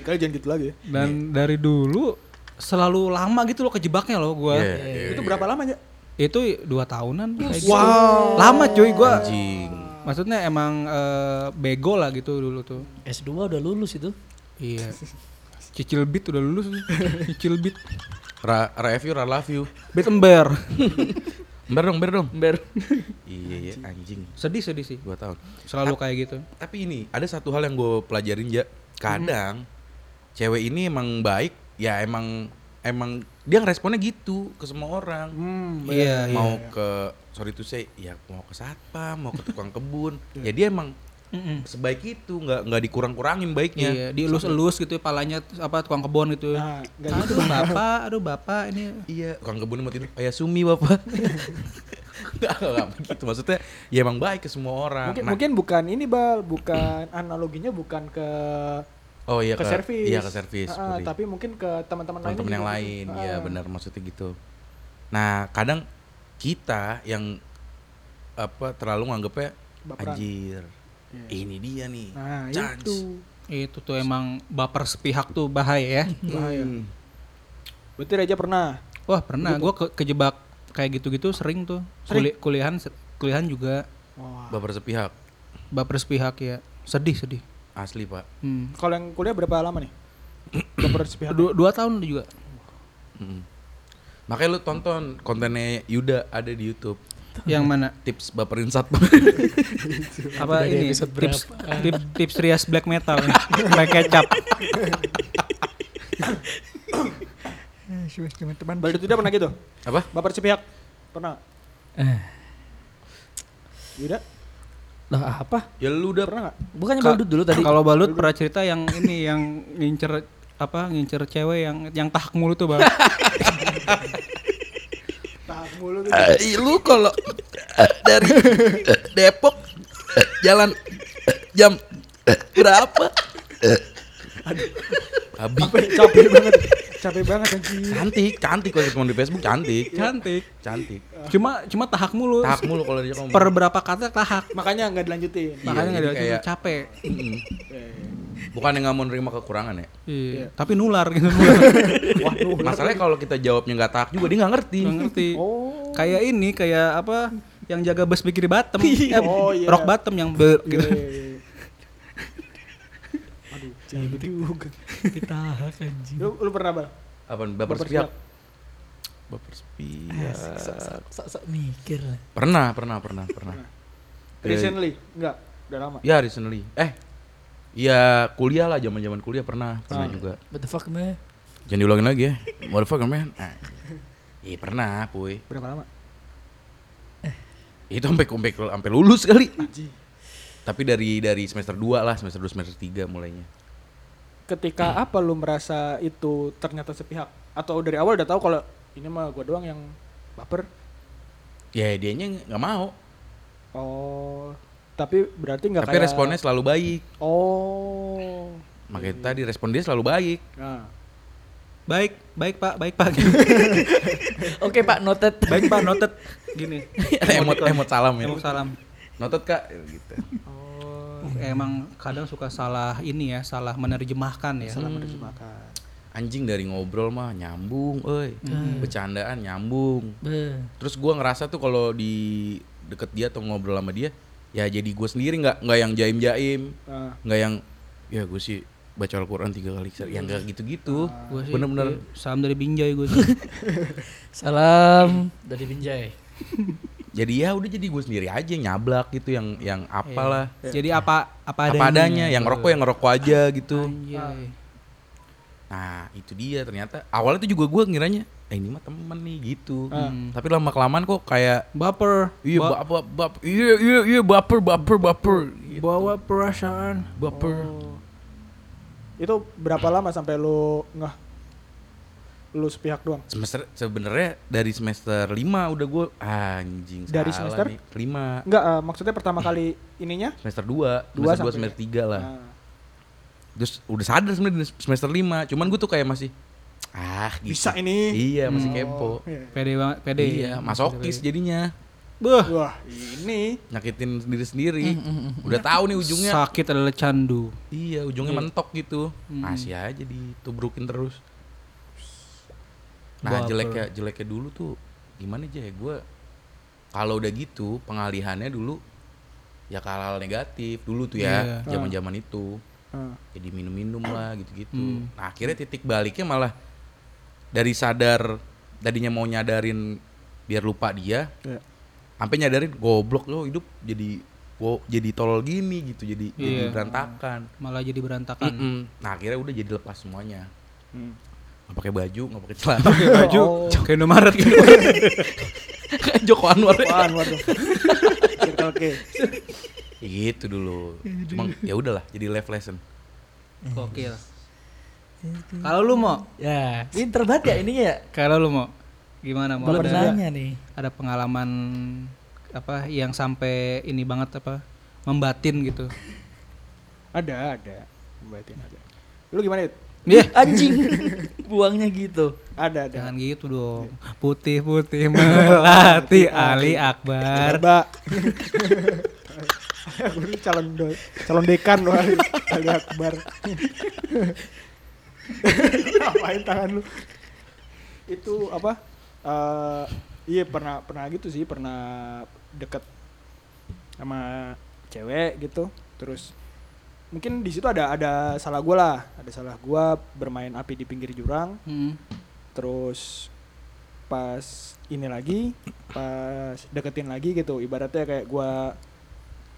S1: Kalian jangan gitu lagi ya.
S5: dan dari dulu selalu lama gitu loh kejebaknya loh gue
S3: Iya, iya,
S1: Itu
S3: iya.
S1: berapa lama ya?
S5: itu dua tahunan kayak gitu.
S1: Wow.
S5: lama cuy gue
S3: Anjing.
S5: maksudnya emang eh, bego lah gitu dulu tuh
S4: S2 udah lulus itu.
S5: iya cicil beat udah lulus tuh. cicil beat
S3: Ra, ra F you, ra love you.
S5: beat ember
S3: Ember dong, ember dong.
S4: Ember.
S3: Iya, iya, anjing.
S5: sedih sedih sih
S3: Dua tahun.
S5: selalu kayak gitu
S3: Tapi ini, ada satu hal yang gue pelajarin, Ja. Kadang,
S1: Mhm.
S3: cewek ini emang baik, ya emang, emang dia ngeresponnya gitu ke semua orang.
S1: Hmm.
S5: iya iya
S3: mau ke, sorry to say, ya mau ke satpam, mau ke tukang kebun.
S1: Iya.
S3: ya dia emang
S5: Mm-mm.
S3: sebaik itu, nggak nggak dikurang-kurangin baiknya.
S5: Iya, dielus-elus gitu ya, palanya terus apa tukang kebun gitu.
S1: Nah, enggak gitu.
S5: aduh bapak, aduh bapak ini
S3: Iya, orang kebun mau tidur kayak Sumi bapak. Enggak, enggak begitu. Maksudnya ya emang baik ke semua orang.
S1: Mungkin
S3: Nah,
S1: mungkin bukan ini Bal, bukan analoginya bukan ke
S3: oh iya
S1: ke servis.
S3: Iya ke servis.
S1: Ah, ah,
S3: sorry.
S1: tapi mungkin ke teman-teman lain. gitu.
S3: Teman-teman yang lain, iya
S1: Ah.
S3: benar maksudnya gitu. Nah, kadang kita yang apa terlalu nganggepnya
S1: Baperan. Iya.
S3: anjir. Ini dia nih.
S1: Nah,
S3: chance."
S1: itu.
S5: itu tuh emang baper sepihak tuh bahaya ya.
S1: Bahaya.
S3: Hmm.
S1: Berarti Reja pernah.
S5: Wah, pernah gua ke- kejebak kayak gitu-gitu sering tuh. Kuli- kuliahan se- kuliahan juga
S1: Wah.
S3: Baper sepihak.
S5: baper sepihak ya. Sedih, sedih.
S3: Asli, Pak.
S5: Hmm.
S1: Kalau yang kuliah berapa lama nih? Baper sepihak.
S5: Dua, dua tahun juga.
S3: Hmm. Mm-mm. Makanya lu tonton kontennya Yuda ada di YouTube.
S5: Yang mana?
S3: Tips baperin sat
S5: Apa
S4: Udah di
S5: ini?
S4: episode
S5: Tips tips, tips Rias Black Metal. nih. Black kecap.
S1: Teman Baru tidak pernah gitu.
S3: Apa?
S1: Baper sepihak. Pernah.
S4: Eh,
S1: Yuda,
S4: lah apa?
S3: Ya lu udah
S1: pernah nggak?
S4: Bukannya
S5: Ka-
S4: badut dulu tadi?
S5: Kalau Balut pernah cerita yang ini yang ngincer apa ngincer cewek yang yang tahak mulu tuh bang
S1: Nah, mulu tuh.
S3: Eh, lu kalau eh, dari eh, Depok eh, jalan eh, jam eh, berapa? Eh. Abi
S1: capek banget. Capek banget anjing.
S3: cantik, cantik kalau cuma di Facebook cantik,
S5: cantik
S3: cantik.
S5: cuma cuma tahak mulu
S3: Tahap mulu kalau dia ngomong.
S5: per berapa kata tahak
S1: Makanya nggak dilanjutin.
S3: Iya,
S5: makanya nggak
S3: jadi
S5: ada
S3: kayak-
S5: capek
S3: Mm-mm. Bukan yang nggak mau nerima kekurangan ya.
S5: iya. tapi nular gitu nular.
S3: Masalahnya kalau kita jawabnya nggak tahap juga dia nggak ngerti.
S5: Nggak ngerti
S1: Oh.
S5: kayak ini kayak apa yang jaga bus pikir Batem
S1: Iya.
S5: Eh,
S1: Oh, iya.
S5: rock Batem yang ber gitu
S1: Iya, iya, iya. Aduh, jangan gitu. juga.
S4: Ditahak anjing.
S1: Lu, lu pernah bal?
S3: Apa baper
S1: Baper
S3: sepihak? Baper sepihak.
S4: Sok-sok mikir lah.
S3: Pernah, pernah, pernah, pernah. Eh,
S1: Recently? Enggak, udah lama.
S3: Ya recently. Eh, ya kuliah lah, zaman zaman kuliah pernah, pernah
S1: Ah.
S3: juga.
S4: What the fuck man?
S3: Jangan diulangin lagi ya. Motherfucker man. Ah. Iya pernah, puy.
S1: Berapa lama?
S3: Itu sampai sampai sampai lulus kali. Tapi dari dari semester 2 lah, semester 2 semester 3 mulainya.
S1: Ketika apa lu merasa itu ternyata sepihak? Atau dari awal udah tahu kalau ini mah gua doang yang baper?
S3: Ya dianya nggak mau.
S1: Oh, tapi berarti nggak
S3: Tapi
S1: kayak
S3: responnya selalu baik.
S1: Oh,
S3: Makanya tadi respon dia selalu baik.
S1: nah,
S5: baik baik pak baik pak
S4: Oke pak, noted.
S5: baik pak noted gini
S3: emot emot salam ya.
S5: emang salam
S3: Notot kak gitu.
S1: oh,
S5: emang kadang suka salah ini ya salah menerjemahkan ya
S1: salah menerjemahkan.
S3: Anjing dari ngobrol mah nyambung, oi. Bercandaan nyambung.
S4: Be.
S3: Terus gua ngerasa tuh kalau di deket dia atau ngobrol sama dia, ya jadi gue sendiri nggak nggak yang jaim jaim,
S1: Nah,
S3: nggak yang ya gue sih baca Al-Quran tiga kali sehari, yang nggak gitu-gitu.
S5: Gua sih
S3: Bener-bener
S5: salam dari Binjai gue sih
S4: Salam dari Binjai.
S3: jadi ya udah jadi gue sendiri aja yang nyablak gitu, yang yang apalah.
S5: Iya. jadi apa apa adanya, gitu.
S3: Apa adanya,
S5: Iya.
S3: yang ngerokok yang ngerokok aja gitu.
S5: Anjay.
S3: Nah itu dia ternyata awalnya tuh juga gue ngiranya, eh ini mah temen nih gitu.
S1: Ah.
S3: Hmm. Tapi lama kelamaan kok kayak
S5: baper
S3: Iya
S5: Ba-
S3: baper baper iya iya iya baper baper baper gitu.
S5: bawa perasaan
S3: baper.
S1: oh. Itu berapa lama sampai lu ngeh lu sepihak doang?
S3: Semester sebenarnya dari semester 5 udah gue anjing
S1: Dari
S3: salah
S1: semester?
S3: nih. 5
S1: Enggak, eh, maksudnya pertama kali ininya?
S3: semester 2,
S1: Dua
S3: semester 2
S1: sampai-
S3: semester 3 lah.
S1: Nah,
S3: Terus udah sadar sebenarnya di semester 5, cuman gue tuh kayak masih ah gitu.
S1: bisa ini.
S3: Iya, masih kepo.
S1: Oh, iya.
S5: pede banget pede
S3: Iya, masokis jadinya.
S5: Beuh,
S1: Wah, ini
S3: Nyakitin sendiri sendiri. Udah
S5: Iya.
S3: tahu nih ujungnya.
S5: sakit adalah candu
S3: Iya, ujungnya mentok gitu.
S5: Hmm.
S3: Masih aja ditubrukin terus. Nah,
S5: Baper.
S3: jeleknya jeleknya dulu tuh gimana aja ya gue kalau udah gitu pengalihannya dulu ya ke hal-hal negatif dulu tuh
S5: Iya.
S3: ya zaman-zaman itu
S1: eh,
S3: jadi minum-minum lah gitu-gitu
S5: Hmm.
S3: nah akhirnya titik baliknya malah dari sadar tadinya mau nyadarin biar lupa dia
S1: ya.
S3: sampai nyadarin goblok lo hidup jadi wo, jadi tolol gini gitu jadi jadi
S5: Iya.
S3: berantakan
S5: malah jadi berantakan
S3: Mm-mm. Nah akhirnya udah jadi lepas semuanya.
S1: Hmm.
S3: Nggak pakai baju, nggak pakai celana.
S5: baju
S1: Oh.
S5: kayak Indomaret gitu
S3: Kayak Joko Anwar.
S1: Apaan, waduh. Circle K.
S3: Ya gitu dulu. Cuma ya udahlah, jadi life lesson.
S5: Gokil. Kalau lu mau,
S4: Ya, pinter banget ya ininya ya.
S5: kalau lu mau gimana mau
S4: Belum
S5: ada,
S4: nanya nih.
S5: ada pengalaman apa yang sampai ini banget apa membatin gitu.
S1: Ada, ada. Batin ada. Lu gimana, Yud?
S5: Iya,
S4: Anjing. Buangnya gitu.
S1: Ada, ada.
S5: jangan gitu dong. Putih-putih melati Ali Akbar.
S1: Mbak. Aku ini calon do- calon dekan loh Ali, Ali Akbar. Apain tangan lu? Itu apa? Eh, iya pernah pernah gitu sih, pernah deket sama cewek gitu. Terus mungkin di situ ada ada salah gua lah, ada salah gua bermain api di pinggir jurang
S5: Hmm.
S1: terus pas ini lagi pas deketin lagi gitu ibaratnya kayak gua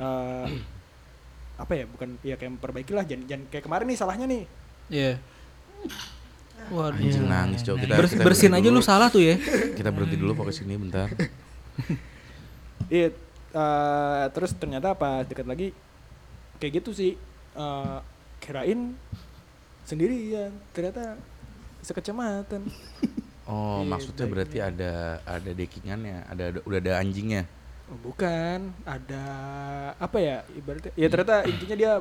S1: eh, apa ya bukan ya kayak memperbaiki lah jangan, jangan kayak kemarin nih salahnya nih
S5: Iya. Waduh.
S3: Anjing nangis cowok kita.
S5: Bers-
S3: kita
S5: bersin
S3: berhenti
S5: aja lu
S3: dulu.
S5: salah tuh ya.
S3: Kita berhenti dulu fokus ini bentar.
S1: iya eh, terus ternyata pas deket lagi kayak gitu sih Eh, kirain sendirian ternyata sekecamatan
S3: Oh,
S1: Iya,
S3: maksudnya
S1: baik.
S3: berarti ada ada dekingannya, ada, ada- udah ada anjingnya.
S1: Oh, bukan ada apa ya ibaratnya ya ternyata intinya dia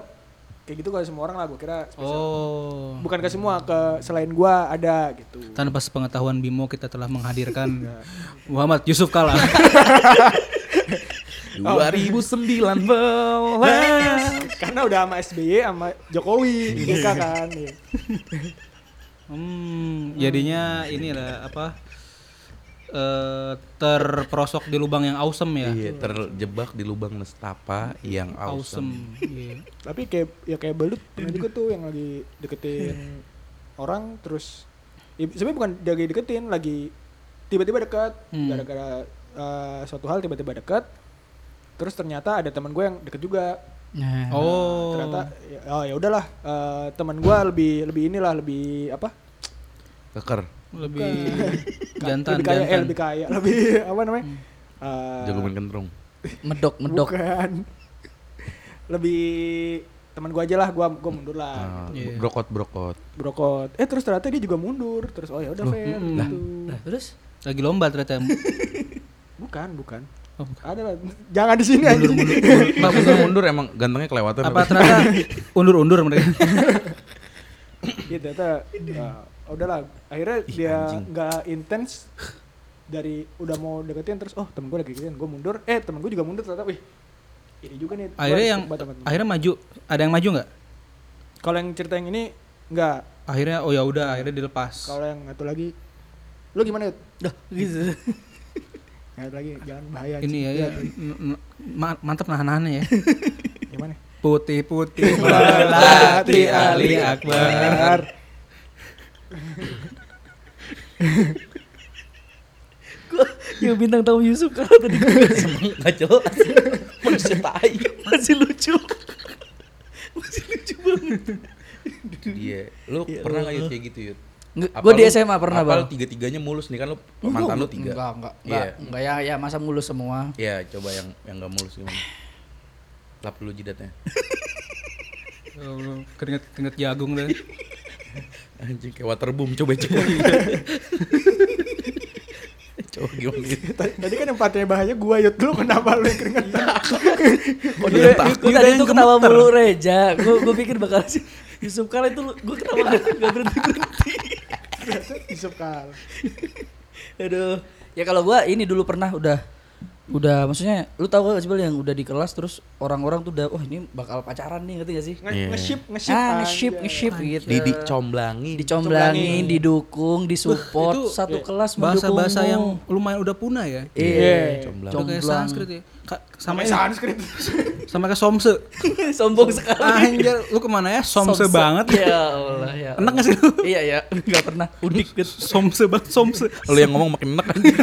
S1: kayak gitu ke semua orang lah gua kira spesial.
S5: Oh.
S1: bukan ke semua ke selain gua ada gitu
S5: Tanpa sepengetahuan Bimo kita telah menghadirkan Muhammad Yusuf Kala.
S3: 2009 belas.
S1: karena udah sama SBY sama Jokowi BK kan iya.
S5: hmm, jadinya inilah apa eh, terperosok di lubang yang awesome ya.
S3: Iya, terjebak di lubang nestapa yang awesome.
S5: Awesome. Iya.
S1: tapi kayak ya kayak belut pernah juga tuh yang lagi deketin orang terus ya, sebenarnya bukan dia lagi deketin lagi tiba-tiba dekat
S5: Hmm.
S1: gara-gara eh, suatu hal tiba-tiba dekat terus ternyata ada teman gue yang deket juga
S4: Nah.
S5: Oh.
S1: ternyata ya, oh ya udahlah eh, teman gue lebih lebih inilah lebih apa
S3: Keker,
S5: lebih
S1: Ka-
S5: jantan
S1: lebih kaya eh,
S5: jantan. Hmm.
S1: lebih kaya lebih apa namanya Eh,
S3: jago main kentrung.
S4: Medok, medok.
S1: Bukan. Lebih teman gua aja lah, gua gua mundur lah.
S3: Ah,
S5: Iya.
S3: brokot brokot.
S1: Brokot. Eh terus ternyata dia juga mundur. Terus oh ya udah fair
S5: mm,
S1: gitu.
S4: Nah, terus
S5: Lagi lomba ternyata.
S1: Bukan, bukan.
S5: Oh, bukan.
S1: Ada lah. Jangan di sini aja.
S3: Tapi gue mundur emang gantengnya kelewatan.
S5: Apa ternyata undur-undur mereka?
S1: Iya ternyata ya, udahlah. Akhirnya dia
S3: anjing.
S1: nggak intens dari udah mau deketin terus oh temen gua lagi deketin gua mundur eh temen gua juga mundur ternyata wih ini juga nih gua
S5: Akhirnya
S1: harus
S5: yang
S1: tobat sama temen.
S5: akhirnya maju. Ada yang maju nggak?
S1: kalau yang cerita yang ini enggak
S5: Akhirnya oh ya udah akhirnya dilepas.
S1: kalau yang satu lagi lu gimana Yud?
S4: dah gitu.
S1: Yang iya. satu lagi jangan bahaya
S5: Ini
S1: Cik.
S5: ya, ya, n- n- ma- mantep nahan-nahannya ya.
S1: gimana
S5: Putih-putih melati Ali
S1: Iya,
S5: Akbar.
S4: Gua yang bintang tamu Yusuf kan kalau tadi gua
S3: Gak jelas. Manusia tai.
S4: masih lucu. masih lucu banget.
S3: Iya. Lu pernah nggak Yud, kayak gitu Yud?
S4: Nggak,
S3: Apa
S4: gua di
S3: lu-
S4: SMA pernah,
S3: apa lu
S4: Bang.
S3: tiga-tiganya mulus nih kan lu mantan lu tiga.
S4: Enggak, enggak,
S3: Iya.
S4: enggak, enggak ya, ya masa mulus semua.
S3: Iya, coba yang yang gak mulus gimana? Lap dulu jidatnya.
S5: Oh, Keringet keringet jagung deh.
S3: Anjing kayak waterboom coba coba. coba gimana gitu.
S1: Tadi tadi kan yang patahnya bahaya gua yut lu kenapa lu yang keringetan?
S4: Oh,
S3: Kok dia tak?
S4: Gue tadi itu ketawa mulu Reja. Gue gue pikir bakal sih Yusuf Kala itu gue ketawa nggak nggak berhenti berhenti.
S1: Iya, Isep kal.
S4: Aduh. Ya kalau gue ini dulu pernah udah udah maksudnya lu tahu gak sih Bel, yang udah di kelas terus orang-orang tuh udah wah ini bakal pacaran nih ngerti gak sih?
S1: Nge-
S3: Iya.
S1: Nge-ship, nge-ship. kan. Iya.
S4: Ah, nge-ship,
S1: anjay.
S4: nge-ship gitu.
S3: Didik comblangin.
S4: Dicomblangin, didukung, disupport,
S5: Itu
S1: iya,
S4: satu kelas mendukung
S5: Bahasa-bahasa
S4: lu.
S5: yang lumayan udah punah ya.
S1: Iya.
S4: Iya,
S3: Comblang.
S5: Itu kayak
S4: Comblang.
S5: Sanskrit ya. Ka-
S1: Sama
S5: sama
S1: Sanskrit.
S5: sama kayak somse.
S4: sombong sekali.
S5: Anjir, lu kemana ya? Somse banget.
S4: Ya Allah, ya. Allah.
S5: Enak gak sih lu?
S4: Iya, ya. Enggak pernah. Unik gitu.
S5: Somse banget, somse.
S3: Lu yang ngomong makin enak anjing.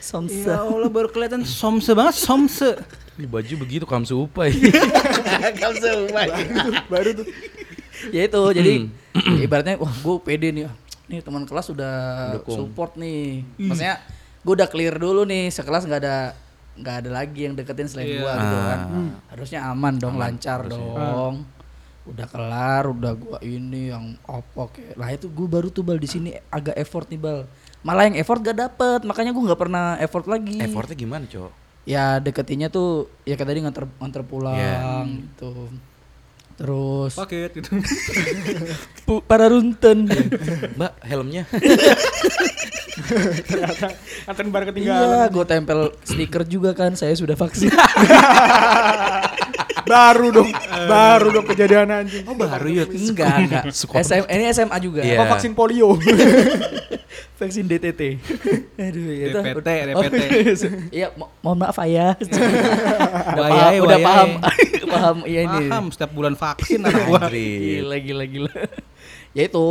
S4: Somsa.
S5: Ya Allah baru kelihatan somse banget, somse.
S3: Di baju begitu kamsu upai.
S1: Baru tuh.
S4: ya itu jadi ibaratnya wah gue pede nih Ah, nih teman kelas udah
S3: Dukung.
S4: support nih maksudnya gue udah clear dulu nih sekelas nggak ada nggak ada lagi yang deketin selain gua gitu kan harusnya aman dong lancar dong udah kelar udah gua ini yang apa kayak lah itu gue baru tuh bal di sini agak effort nih bal malah yang effort gak dapet makanya gue nggak pernah effort lagi
S3: Effortnya gimana, Cok?
S4: ya deketinnya tuh ya kayak tadi nganter nganter pulang
S3: Iya.
S4: gitu terus
S5: Paket gitu.
S4: Pu- para runten
S3: Mbak, helmnya.
S1: Ternyata anten bar ketinggalan.
S4: iya gue tempel stiker juga kan saya sudah vaksin
S1: Iya. Baru dong. Baru dong kejadian anjing. Oh,
S5: Baru ya.
S4: enggak enggak SM, ini SMA juga
S3: Iya.
S1: vaksin polio.
S4: vaksin DTT aduh ya itu
S5: DPT,
S4: udah-
S5: DPT.
S4: oh, iya, se- iya mo- mohon maaf ayah udah
S5: Wayai,
S4: paham udah
S5: wayai.
S4: paham paham iya ini
S5: Paham setiap bulan vaksin anak gua.
S3: Anjrit.
S4: gila gila gila Iya, ya itu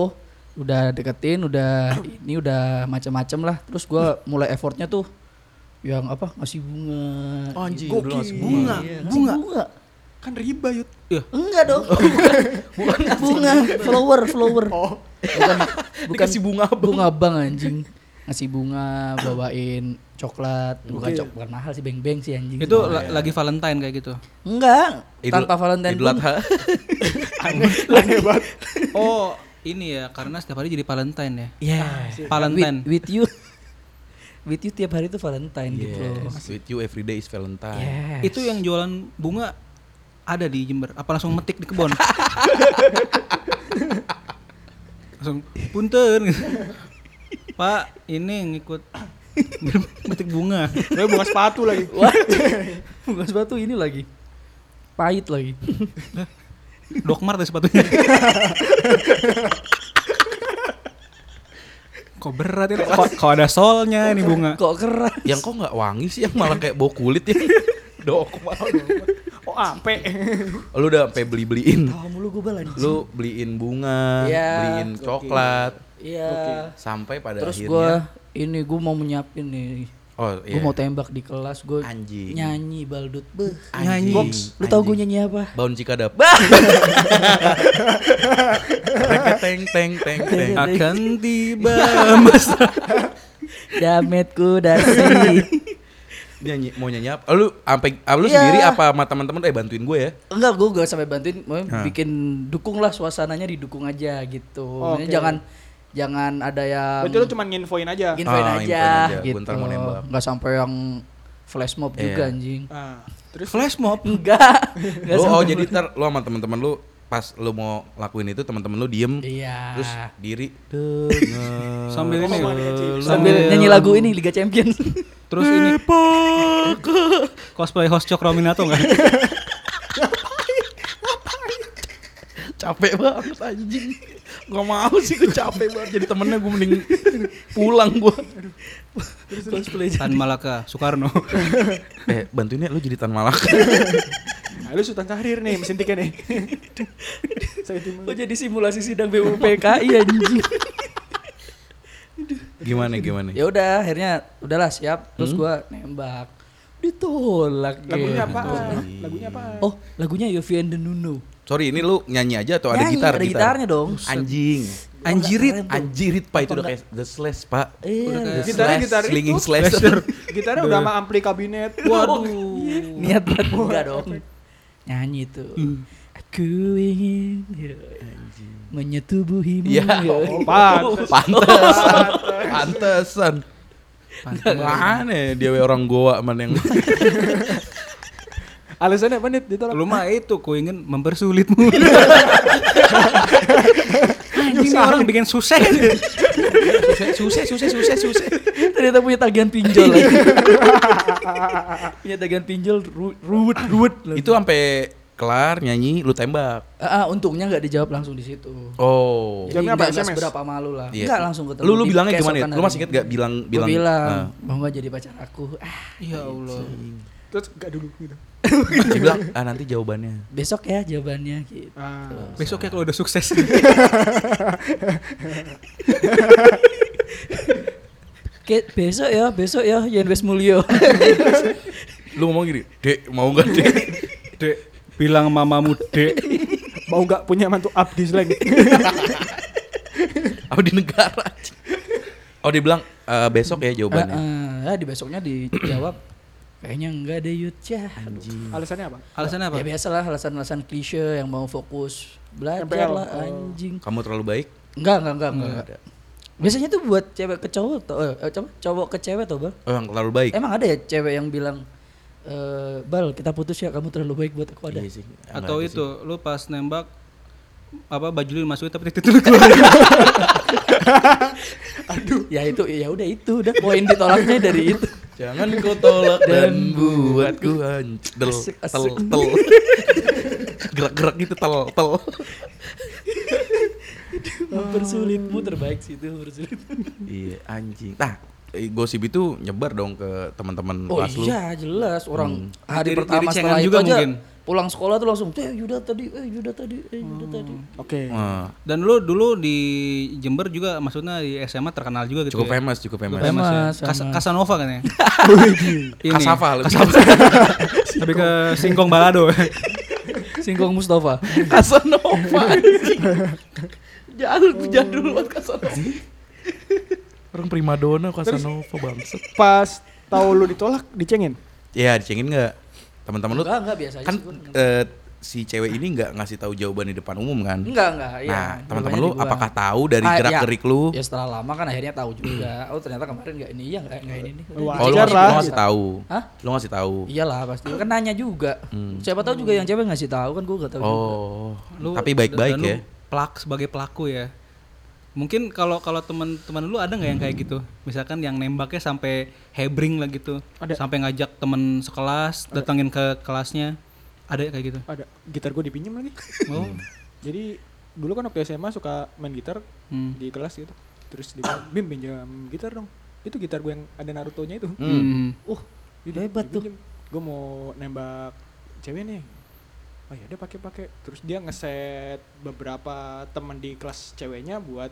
S4: udah deketin udah ini udah macam-macam lah terus gua mulai effortnya tuh yang apa ngasih bunga
S1: Oh,
S3: Anjing,
S4: gitu.
S3: lu ngasih
S1: bunga.
S4: Iya, ngasih
S1: Bunga.
S4: bunga
S1: Kan riba yut.
S4: enggak dong bukan bunga flower flower
S1: Oh.
S4: bukan bukan
S3: Dikasih bunga abang.
S4: bunga abang anjing ngasih bunga bawain coklat bukan
S1: Oke.
S4: cok bukan mahal sih beng beng sih anjing iya.
S5: Itu la- lagi Valentine kayak gitu.
S4: enggak
S3: Idul-
S4: tanpa Valentine
S3: Idul
S4: pun
S3: Adha.
S1: Aneh, aneh banget.
S5: Oh, ini ya karena setiap hari jadi Valentine ya.
S3: Iya.
S4: ya
S5: Valentine.
S4: with, with you with you tiap hari tuh Valentine gitu loh
S3: Yes, with you every day is Valentine.
S4: Yes.
S5: Itu yang jualan bunga ada di Jember. Apa langsung metik di kebun? langsung punten. Pak, ini ngikut metik bunga.
S1: Gue buka sepatu lagi.
S4: Wah, bukan sepatu ini lagi. Pahit lagi.
S5: Dokmar tuh sepatunya. Kok berat ini? Kok, kok ada solnya ini bunga?
S4: Kok keras?
S3: Yang kok nggak wangi sih yang malah kayak bau kulit ya. Dok, malah.
S1: Oh, ampe.
S3: lu udah sampai beli-beliin.
S4: Tahu mulu gue balan.
S3: Lu beliin bunga,
S4: Iya,
S3: beliin
S4: oke.
S3: coklat,
S1: Oke.
S4: Iya.
S3: sampai pada
S4: Terus
S3: akhirnya
S4: gue ini gue mau menyiapin nih.
S3: Oh, iya.
S4: Gue mau tembak di kelas gue
S3: Anjing.
S4: nyanyi baldut beh.
S3: Anjing.
S4: Box. Lu tau gue
S3: Anjing.
S4: nyanyi apa?
S3: Baun cikadap. teng teng teng teng.
S5: Akan tiba masa
S4: Dametku dasi.
S3: Nyanyi mau nyanyi apa? Lu sampai lu
S4: Iya.
S3: sendiri apa sama teman-teman eh bantuin gue ya?
S4: Enggak, gue gak sampai bantuin, mau
S3: Hah.
S4: bikin dukung lah suasananya didukung aja gitu. Maksudnya
S1: Oke.
S4: jangan jangan ada yang
S1: Berarti lu cuma nginfoin aja.
S4: infoin
S3: Ah,
S4: aja,
S3: infoin aja.
S4: gitu.
S3: Bentar mau nembak.
S4: Nggak sampai yang flash mob
S3: Iya.
S4: juga anjing.
S1: Ah, terus
S5: flash mob.
S4: Enggak. Enggak
S3: Lu oh
S4: sampai-
S3: jadi ntar lu sama teman-teman lu pas lu mau lakuin itu teman-teman lu diem
S4: Iya.
S3: terus diri denger
S5: Sambil ini.
S1: Sambil-
S4: Sambil nyanyi lagu ini Liga Champions.
S5: Terus ini cosplay host Cokro Minato nggak?
S3: capek banget anjing gak mau sih gue capek banget jadi temennya gue mending pulang gue
S4: Cosplay.
S5: Tan Malaka, Soekarno.
S3: eh bantuin ya lu jadi tan malak
S1: nah, lu sultan Syahrir nih mesin tiketnya nih. Saya timun.
S4: Oh jadi simulasi sidang BUPKI anjing.
S3: gimana gimana
S4: ya udah akhirnya udahlah siap
S3: Hmm?
S4: terus gua nembak. Ditolak.
S5: Iya,
S1: Lagunya
S4: Gen.
S1: apa?
S3: Betul.
S1: Lagunya apa?
S4: Oh, lagunya Yofi and the Nuno.
S3: sorry ini lu nyanyi aja atau ada
S4: Nyanyi,
S3: gitar
S4: ada gitarnya dong.
S3: anjing
S5: Anjirit.
S3: anjirit pak itu udah kayak the slash pak
S4: Iya.
S5: kayak-
S1: gitarnya
S3: Slash,
S1: gitar
S3: slinging
S1: itu.
S3: slash.
S1: Gitarnya udah sama ampli kabinet.
S5: Waduh.
S4: Niat banget enggak dong. Nyanyi itu.
S3: Hmm.
S4: Aku ingin ya, menyetubuhimu.
S3: Iya.
S4: ya.
S1: Oh, pantes.
S3: pantes pantesan mana dia we orang goa mana yang
S1: Alasannya apa nih ditolak?
S5: Lu mah itu ku ingin mempersulitmu. Anjing nih orang bikin susah.
S3: susah susah susah susah
S4: Ternyata punya tagihan pinjol.
S3: Iya.
S4: punya tagihan pinjol ru- ruwet ruwet. lagi.
S3: itu sampai kelar nyanyi lu tembak
S4: Ah, ah, untungnya nggak dijawab langsung di situ.
S3: oh
S4: Jadi
S1: Jamnya apa,
S4: nggak- nggak
S1: SMS?
S4: seberapa malu lah.
S3: Iya.
S4: Nggak langsung ketemu.
S3: Lu lu
S4: Di-
S3: bilangnya
S4: keesokan
S3: gimana ya? Lu
S4: hari.
S3: masih inget gak bilang
S4: Gua
S3: bilang?
S4: bilang,
S3: Nah,
S4: mau nggak jadi pacar aku? Ah,
S5: Ya Allah.
S1: Terus gak dulu gitu.
S3: dia bilang ah nanti jawabannya.
S4: besok ya jawabannya. Gitu.
S1: Ah.
S5: Besok ya kalau udah sukses.
S4: Ke- besok ya, besok ya, Yen Wes Mulyo.
S3: Lu ngomong gini, "Dek, mau gak, Dek?"
S5: Dek, bilang mamamu, Dek.
S1: Mau gak punya mantu abdi slang?
S3: Apa di negara? Oh dia bilang "Eh, besok ya jawabannya.
S4: Ah, ah, ah, di besoknya dijawab kayaknya enggak deh Yud ya. Aduh.
S1: Alasannya apa?
S5: Alasannya apa?
S4: Ya biasalah alasan-alasan klise yang mau fokus belajar
S1: MPL.
S4: lah
S1: Oh.
S4: anjing.
S3: Kamu terlalu baik.
S4: Enggak, enggak, enggak, enggak. Biasanya tuh buat cewek ke cowok tuh, eh, eh, coba cowok ke cewek tuh, Bal.
S3: Oh yang terlalu baik.
S4: Emang ada ya cewek yang bilang eh Bal, kita putus ya, kamu terlalu baik buat aku ada.
S3: Iya sih. Enggak
S5: Atau
S3: ada
S5: itu
S3: sih.
S5: lu pas nembak apa baju lu masukin tapi titik lu keluar.
S4: Ya itu ya udah itu, udah poin ditolaknya dari itu.
S3: Jangan kau tolak dan
S4: Dan
S3: buatku hancur. Del,
S4: Asik,
S3: Tel,
S4: asik.
S3: tel. Gerak-gerak gitu tel, tel.
S4: Mempersulitmu terbaik sih itu, mempersulitmu.
S3: Iya, anjing. Nah, eh, gosip itu nyebar dong ke teman-teman
S4: Oh
S3: kelas lu. Hmm.
S4: iya jelas orang hari
S5: Jadi-
S4: pertama
S5: jadi cengan
S4: setelah
S5: juga
S4: itu aja
S5: mungkin.
S4: pulang sekolah tuh langsung eh Yuda tadi eh Yuda tadi eh Yuda tadi
S3: Hmm.
S1: Oke.
S3: Wah,
S5: Dan lu dulu di Jember juga maksudnya di SMA terkenal juga gitu.
S3: cukup
S5: ya?
S3: famous, cukup famous.
S5: Famous ya?
S4: Famous,
S5: Kas-
S4: famous.
S5: Casanova kan ya? Ini,
S3: Kasava lebih.
S5: Tapi ke Singkong Balado.
S4: Singkong Mustafa Casanova anjing. Jadul jadul banget Casanova
S3: Orang primadona Casanova bangset.
S1: Pas tahu lu ditolak dicengin.
S3: Iya, dicengin enggak? Teman-teman lu
S4: Enggak enggak biasa aja
S3: kan
S4: sih, gua.
S3: eh, si cewek ini nggak ngasih tahu jawaban di depan umum kan?
S4: Enggak enggak iya.
S3: Nah, teman-teman
S4: Dua-duanya
S3: lu
S4: di gua.
S3: apakah tahu dari
S4: Ah,
S3: gerak
S4: iya.
S3: gerik lu?
S4: Ya setelah lama kan akhirnya tahu juga. Oh ternyata kemarin enggak ini ya enggak enggak ini nih.
S1: Wah,
S3: Oh, lu
S1: Wajar
S3: ngasih,
S1: lah.
S3: lu ngasih tahu.
S4: Hah?
S3: Lu ngasih tahu.
S4: Iyalah pasti kan nanya juga.
S3: Hmm.
S4: Siapa tahu juga yang cewek ngasih tahu kan gua enggak tahu juga.
S3: Oh,
S5: Lu-
S3: tapi baik-baik
S5: dan lu
S3: ya.
S5: Plak sebagai pelaku ya. Mungkin kalau kalau teman-teman lu ada nggak yang kayak gitu? Misalkan yang nembaknya sampai hebring lah gitu.
S1: Ada.
S5: Sampai ngajak temen sekelas datangin ke kelasnya. Ada ya kayak gitu.
S1: Ada gitar gue dipinjam lagi.
S3: Hmm.
S5: Oh.
S1: Jadi dulu kan waktu SMA suka main gitar
S5: Hmm.
S1: di kelas gitu. Terus dia bilang, "Bim pinjam gitar dong." Itu gitar gue yang ada Naruto-nya itu.
S5: Hmm.
S3: Oh.
S1: Uh,
S4: Hebat tuh.
S1: Gue mau nembak cewek nih. Oh ya, dia pakai-pakai. Terus dia ngeset beberapa teman di kelas ceweknya buat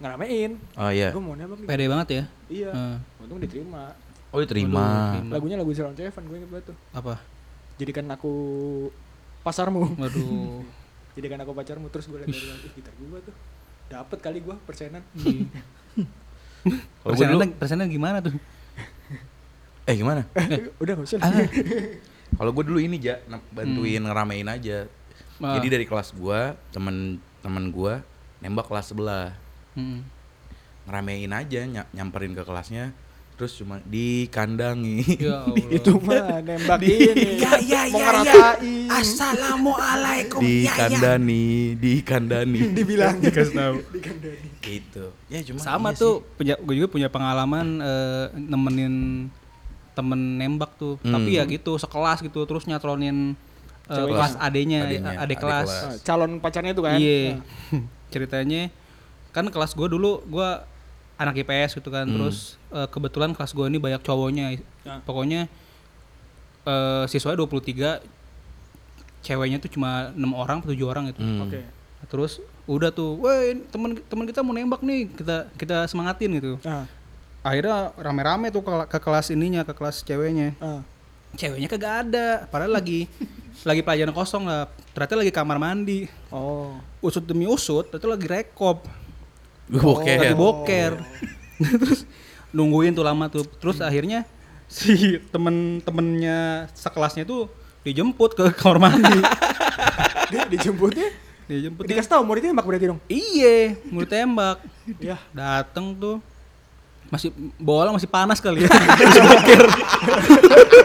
S1: ngeramein.
S3: Oh
S2: Ya.
S3: iya.
S1: Gue mau nembak nih.
S5: Pede banget ya.
S1: Iya.
S5: Eh,
S2: Hmm.
S1: Untung diterima.
S3: Oh, diterima.
S5: Waduh,
S1: Lagunya lagu Ceylon Seven gue inget banget tuh.
S5: apa?
S1: Jadikan aku pasarmu.
S5: Waduh.
S1: Jadikan aku pacarmu terus gue liat dari luar, "Ih, gitar gue tuh. Dapat kali gue persenan.
S2: Hmm.
S3: Kalau gua dulu,
S5: Persenannya, persenannya gimana tuh?
S3: eh gimana?
S1: Udah gak
S2: Ah.
S1: usah.
S3: Kalau gue dulu ini ja na- bantuin ngeramein aja.
S5: Ah.
S3: Jadi dari kelas gua, temen-temen gua nembak kelas sebelah.
S5: Hmm.
S3: Ngeramein aja ny- nyamperin ke kelasnya terus cuma dikandangi.
S5: Ya Allah.
S1: Itu mah nembak ini.
S2: Ya, ya,
S1: mau
S2: ya, ya.
S1: ngeratain.
S2: Assalamualaikum.
S3: dikandani, dikandani.
S1: Dibilang
S5: Dikasih tahu.
S3: gitu. Ya cuma iya
S5: Sama tuh, punya, gue juga punya pengalaman eh, nemenin temen nembak tuh,
S3: Hmm.
S5: tapi ya gitu sekelas gitu terus nyatronin eh,
S1: Cewek.
S5: kelas adenya,
S3: Adeknya,
S5: adek
S3: adek
S5: kelas.
S3: kelas.
S1: Ah, calon pacarnya itu kan.
S5: Iya. Ceritanya kan kelas gue dulu gue anak IPS gitu kan, terus eh, kebetulan kelas gue ini banyak cowoknya, pokoknya eh, siswanya 23 ceweknya tuh cuma enam orang atau tujuh orang
S3: sih.
S5: gitu.
S3: Hmm.
S1: Nah, Oke.
S5: Terus udah tuh, woi temen temen kita mau nembak nih, kita kita semangatin gitu.
S1: Ah,
S5: Akhirnya rame-rame tuh ke, ke kelas ininya, ke kelas ceweknya.
S1: ah.
S5: Ceweknya kagak ada, padahal lagi lagi pelajaran kosong lah. Ternyata lagi kamar mandi.
S1: Oh.
S5: Usut demi usut, ternyata lagi rekop,
S3: Gua boker.
S5: lagi boker. Terus nungguin tuh lama tuh. Terus akhirnya si temen-temennya sekelasnya tuh dijemput ke kamar mandi.
S1: Dia dijemputnya
S5: dijemput.
S1: dikasih tahu muridnya nembak berarti dong.
S5: Iya, mulut tembak.
S1: Ya.
S5: dateng tuh masih bola masih panas kali ya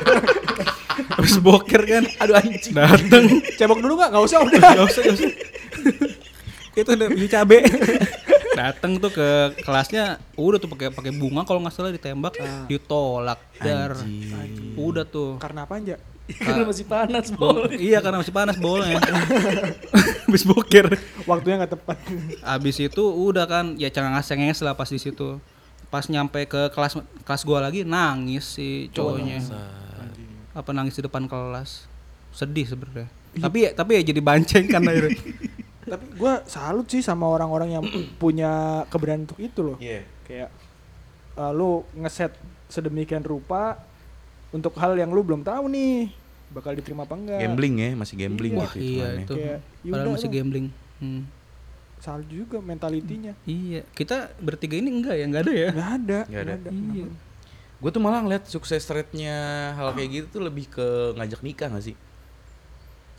S5: habis boker habis boker kan aduh anjing dateng
S1: Cebok dulu nggak? Nggak usah udah.
S5: gak usah gak usah itu udah beli cabe dateng tuh ke kelasnya udah tuh pakai pakai bunga kalau nggak salah ditembak ditolak dar udah tuh
S1: Karena apa aja?
S4: Karena masih panas,
S5: Bo-
S3: Oh.
S4: Bol.
S5: iya karena masih panas bolanya habis boker
S1: Waktunya nggak tepat.
S5: Abis itu udah kan ya cengenges cengenges lah pas di situ. Pas nyampe ke kelas kelas gua lagi nangis si cowoknya. Apa nangis di depan kelas. Sedih sebenarnya. Tapi ya, tapi ya jadi banceng kan akhirnya.
S1: Tapi gue salut sih sama orang-orang yang punya keberanian untuk itu loh.
S3: Iya.
S1: Kayak eh, lu ngeset sedemikian rupa untuk hal yang lu belum tahu nih bakal diterima apa enggak.
S3: Gambling ya, masih gambling
S1: Iya.
S3: gitu.
S5: iya
S3: hitungannya.
S5: itu.
S1: Kayak
S5: Padahal
S1: Yuda
S5: masih
S1: dong.
S5: gambling. Hmm.
S1: Salut juga mentalitinya.
S5: Iya, kita bertiga ini enggak ya, enggak ada ya.
S1: Nggak ada.
S3: Nggak ada.
S1: nggak
S5: Iya.
S3: Gue tuh malah ngeliat sukses rate-nya hal kayak gitu tuh lebih ke ngajak nikah gak sih?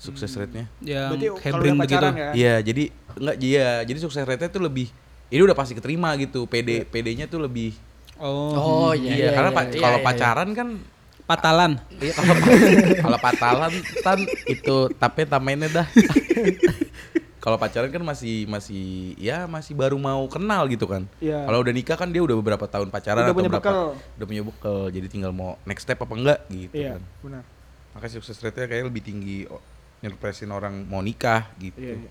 S3: Sukses rate-nya.
S5: Yang gitu.
S1: Berarti kalau
S5: hebring
S1: udah
S5: begitu.
S1: pacaran ya.
S3: Iya, jadi enggak iya, jadi sukses rate-nya tuh lebih ini udah pasti keterima gitu. PD PD-nya tuh lebih
S4: Oh
S5: Oh,
S3: iya,
S4: iya.
S3: karena
S4: iya,
S3: pa-
S4: iya,
S3: kalau
S4: iya,
S3: pacaran kan
S5: patalan.
S3: iya, kalau pa- kalau patalan tan itu tapi tamainnya dah. kalau pacaran kan masih masih ya masih baru mau kenal gitu kan.
S1: Iya.
S3: Kalau udah nikah kan dia udah beberapa tahun pacaran
S1: Udah
S3: atau
S1: punya
S3: berapa
S1: bekal.
S3: udah punya bekal. Jadi tinggal mau next step apa enggak gitu
S1: Iya,
S3: kan.
S1: benar.
S3: Maka sukses rate-nya kayaknya lebih tinggi o- nyerpresin orang mau nikah gitu.
S1: Iya, iya.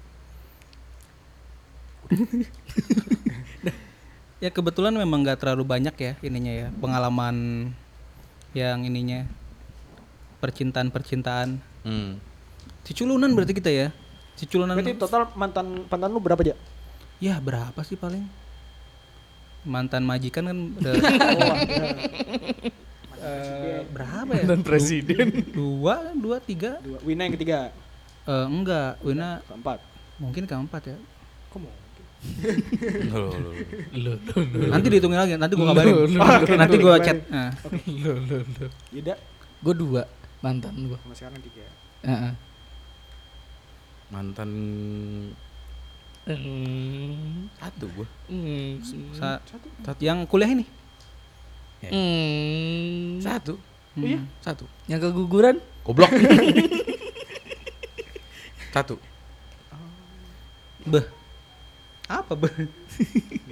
S5: Ya kebetulan memang nggak terlalu banyak ya ininya ya pengalaman yang ininya percintaan percintaan
S3: Hmm.
S5: Ciculunan berarti kita ya. Ciculunan.
S1: Berarti total mantan mantan lu berapa aja?
S5: Ya berapa sih paling? Mantan majikan kan ada
S1: Oh, iya.
S5: Eh, berapa ya?
S6: dan presiden
S5: Dua, dua, tiga?
S1: Dua. Wina yang ketiga,
S5: Eh, enggak, Wina
S1: keempat.
S5: mungkin keempat ya.
S3: Loh, loh, loh.
S6: lo lo lo
S5: Nanti dihitungin lagi, nanti gua kabarin.
S6: Lu, lu, lu,
S5: Oke, nanti
S1: lu,
S5: gua
S1: kabarin.
S5: chat. Nah,
S6: lo lo lo
S1: Yuda
S6: gue dua mantan gue
S1: sama sekarang tiga.
S3: Mantan satu gua. hmm,
S5: sa- yang kuliah ini.
S3: Satu.
S6: Oh
S5: Iya.
S3: Satu.
S4: Yang keguguran?
S3: Goblok. satu.
S5: Beh. Hmm. Apa beh?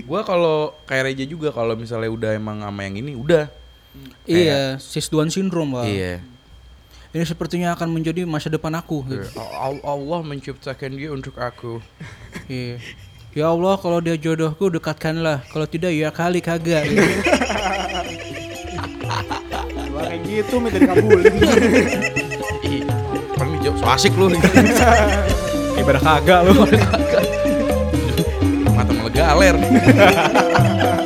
S3: Gua kalau kayak Reja juga kalau misalnya udah emang sama yang ini udah.
S5: Iya, sisduan syndrome, Bang.
S3: Iya.
S5: Ini sepertinya akan menjadi masa depan aku. gitu.
S3: Al- Allah menciptakan dia untuk aku.
S5: Iya. Ya Allah, kalau dia jodohku dekatkanlah. Kalau tidak ya kali kagak. gitu.
S1: Wah kayak gitu minta dikabulin.
S3: Ih, pernah dijawab so asik lu.
S5: Ibarat kagak loh.
S3: Mata malah galer.